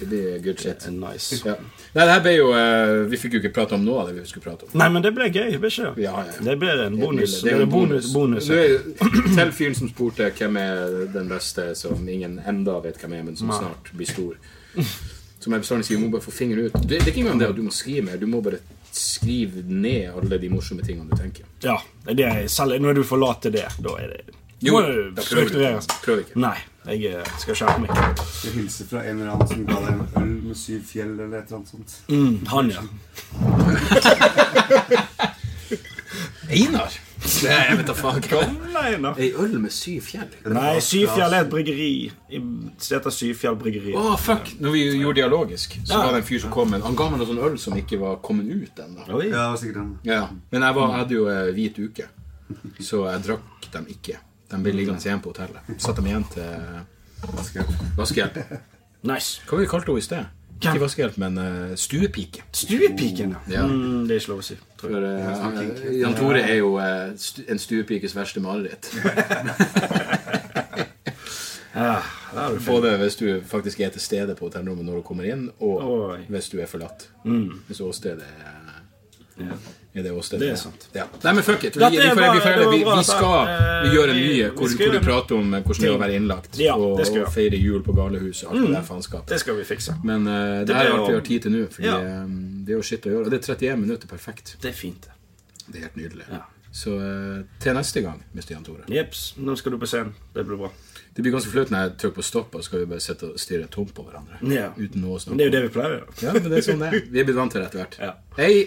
[SPEAKER 1] Det blir good shit.
[SPEAKER 2] Nice.
[SPEAKER 1] Ja. Nei, det her ble jo eh, Vi fikk jo ikke prate om noe av det vi skulle prate om.
[SPEAKER 2] Nei, men det ble gøy. Det ble ikke det?
[SPEAKER 1] Ja, ja.
[SPEAKER 2] Det ble en bonus.
[SPEAKER 1] Det er jo en
[SPEAKER 2] bonus. bonus.
[SPEAKER 1] Du er til fyren som spurte hvem er den beste som ingen enda vet hvem er, men som
[SPEAKER 2] Nei.
[SPEAKER 1] snart blir stor. Som jeg bestandig sier, du må bare få fingeren ut. Det, det er ikke engang det at du må skrive mer, du må bare skrive ned alle de morsomme tingene du tenker.
[SPEAKER 2] Ja, det er, selv når du forlater det, da er det
[SPEAKER 1] Jo,
[SPEAKER 2] må altså. du
[SPEAKER 1] da prøver du
[SPEAKER 2] struktureres.
[SPEAKER 1] ikke. Prøv ikke.
[SPEAKER 2] Nei, jeg eh, skal skjerpe meg.
[SPEAKER 3] Jeg hilser fra en eller annen som ga deg en øl med syv fjell eller et eller annet sånt.
[SPEAKER 2] Mm, han, ja.
[SPEAKER 1] Einar? Nei, jeg vet da faen.
[SPEAKER 2] Nei, da.
[SPEAKER 1] Ei øl med syv fjell?
[SPEAKER 2] Nei, Syfjell er et bryggeri. I- Det heter Syfjell bryggeri.
[SPEAKER 1] Å, fuck! Når vi gjorde dialogisk, så var det en fyr som kom med en- Han ga meg noe sånn øl som ikke var kommet ut ennå.
[SPEAKER 2] Oi.
[SPEAKER 3] Ja, det var sikkert den.
[SPEAKER 1] Ja. Men jeg, var, jeg hadde jo eh, hvit uke, så jeg drakk dem ikke. De ble liggende igjen på hotellet. Satt dem igjen til
[SPEAKER 3] Vaskehjelp.
[SPEAKER 1] vaskehjelp.
[SPEAKER 2] Nice.
[SPEAKER 1] Hva var det vi kalte henne i sted? Ikke vaskehjelp, men eh, stuepike.
[SPEAKER 2] Stuepiken, ja.
[SPEAKER 1] Ja.
[SPEAKER 2] Mm, det er ikke lov å si. tror jeg.
[SPEAKER 1] For, eh, Jan Tore er jo eh, stu, en stuepikes verste mareritt.
[SPEAKER 2] Ah, der er du
[SPEAKER 1] Både hvis du faktisk er til stede på hotellrommet når du kommer inn, og
[SPEAKER 2] Oi. Mm.
[SPEAKER 1] hvis du er forlatt. Hvis åstedet er
[SPEAKER 2] Ja.
[SPEAKER 1] er det åstedet.
[SPEAKER 2] Det er sant.
[SPEAKER 1] Ja. Nei, men fuck it. Vi, vi,
[SPEAKER 2] Dette er
[SPEAKER 1] får-
[SPEAKER 2] bra,
[SPEAKER 1] vi, får-
[SPEAKER 2] det var
[SPEAKER 1] vi,
[SPEAKER 2] bra,
[SPEAKER 1] vi skal
[SPEAKER 2] altså.
[SPEAKER 1] gjøre
[SPEAKER 2] Eh,
[SPEAKER 1] mye
[SPEAKER 2] vi
[SPEAKER 1] hvor,
[SPEAKER 2] skal
[SPEAKER 1] hvor
[SPEAKER 2] gjøre-
[SPEAKER 1] du prater om hvordan det er å være innlagt,
[SPEAKER 2] Ja,
[SPEAKER 1] og,
[SPEAKER 2] det skal vi
[SPEAKER 1] og feire jul på galehus og alt det der faenskapet.
[SPEAKER 2] Det skal vi fikse.
[SPEAKER 1] Men eh,
[SPEAKER 2] Det
[SPEAKER 1] det her
[SPEAKER 2] blir
[SPEAKER 1] er alt vi
[SPEAKER 2] jo-
[SPEAKER 1] har tid til nå, Fordi
[SPEAKER 2] Ja.
[SPEAKER 1] eh, det er jo shit å gjøre. Og det er 31 minutter perfekt.
[SPEAKER 2] Det er fint. det.
[SPEAKER 1] Det er helt nydelig.
[SPEAKER 2] Ja.
[SPEAKER 1] Så eh, til neste gang, Mr. Jan Tore.
[SPEAKER 2] Jeps, nå skal du på scenen. Det blir bra.
[SPEAKER 1] Det blir ganske flaut når jeg trykker på stopp, og så skal vi bare sitte og stirre tomt på hverandre.
[SPEAKER 2] Ja.
[SPEAKER 1] Uten noe å snakke
[SPEAKER 2] Men det er jo det vi pleier å gjøre.
[SPEAKER 1] Ja, men det er sånn det er. Vi er blitt vant til det etter hvert.
[SPEAKER 2] Ja.
[SPEAKER 1] Hei!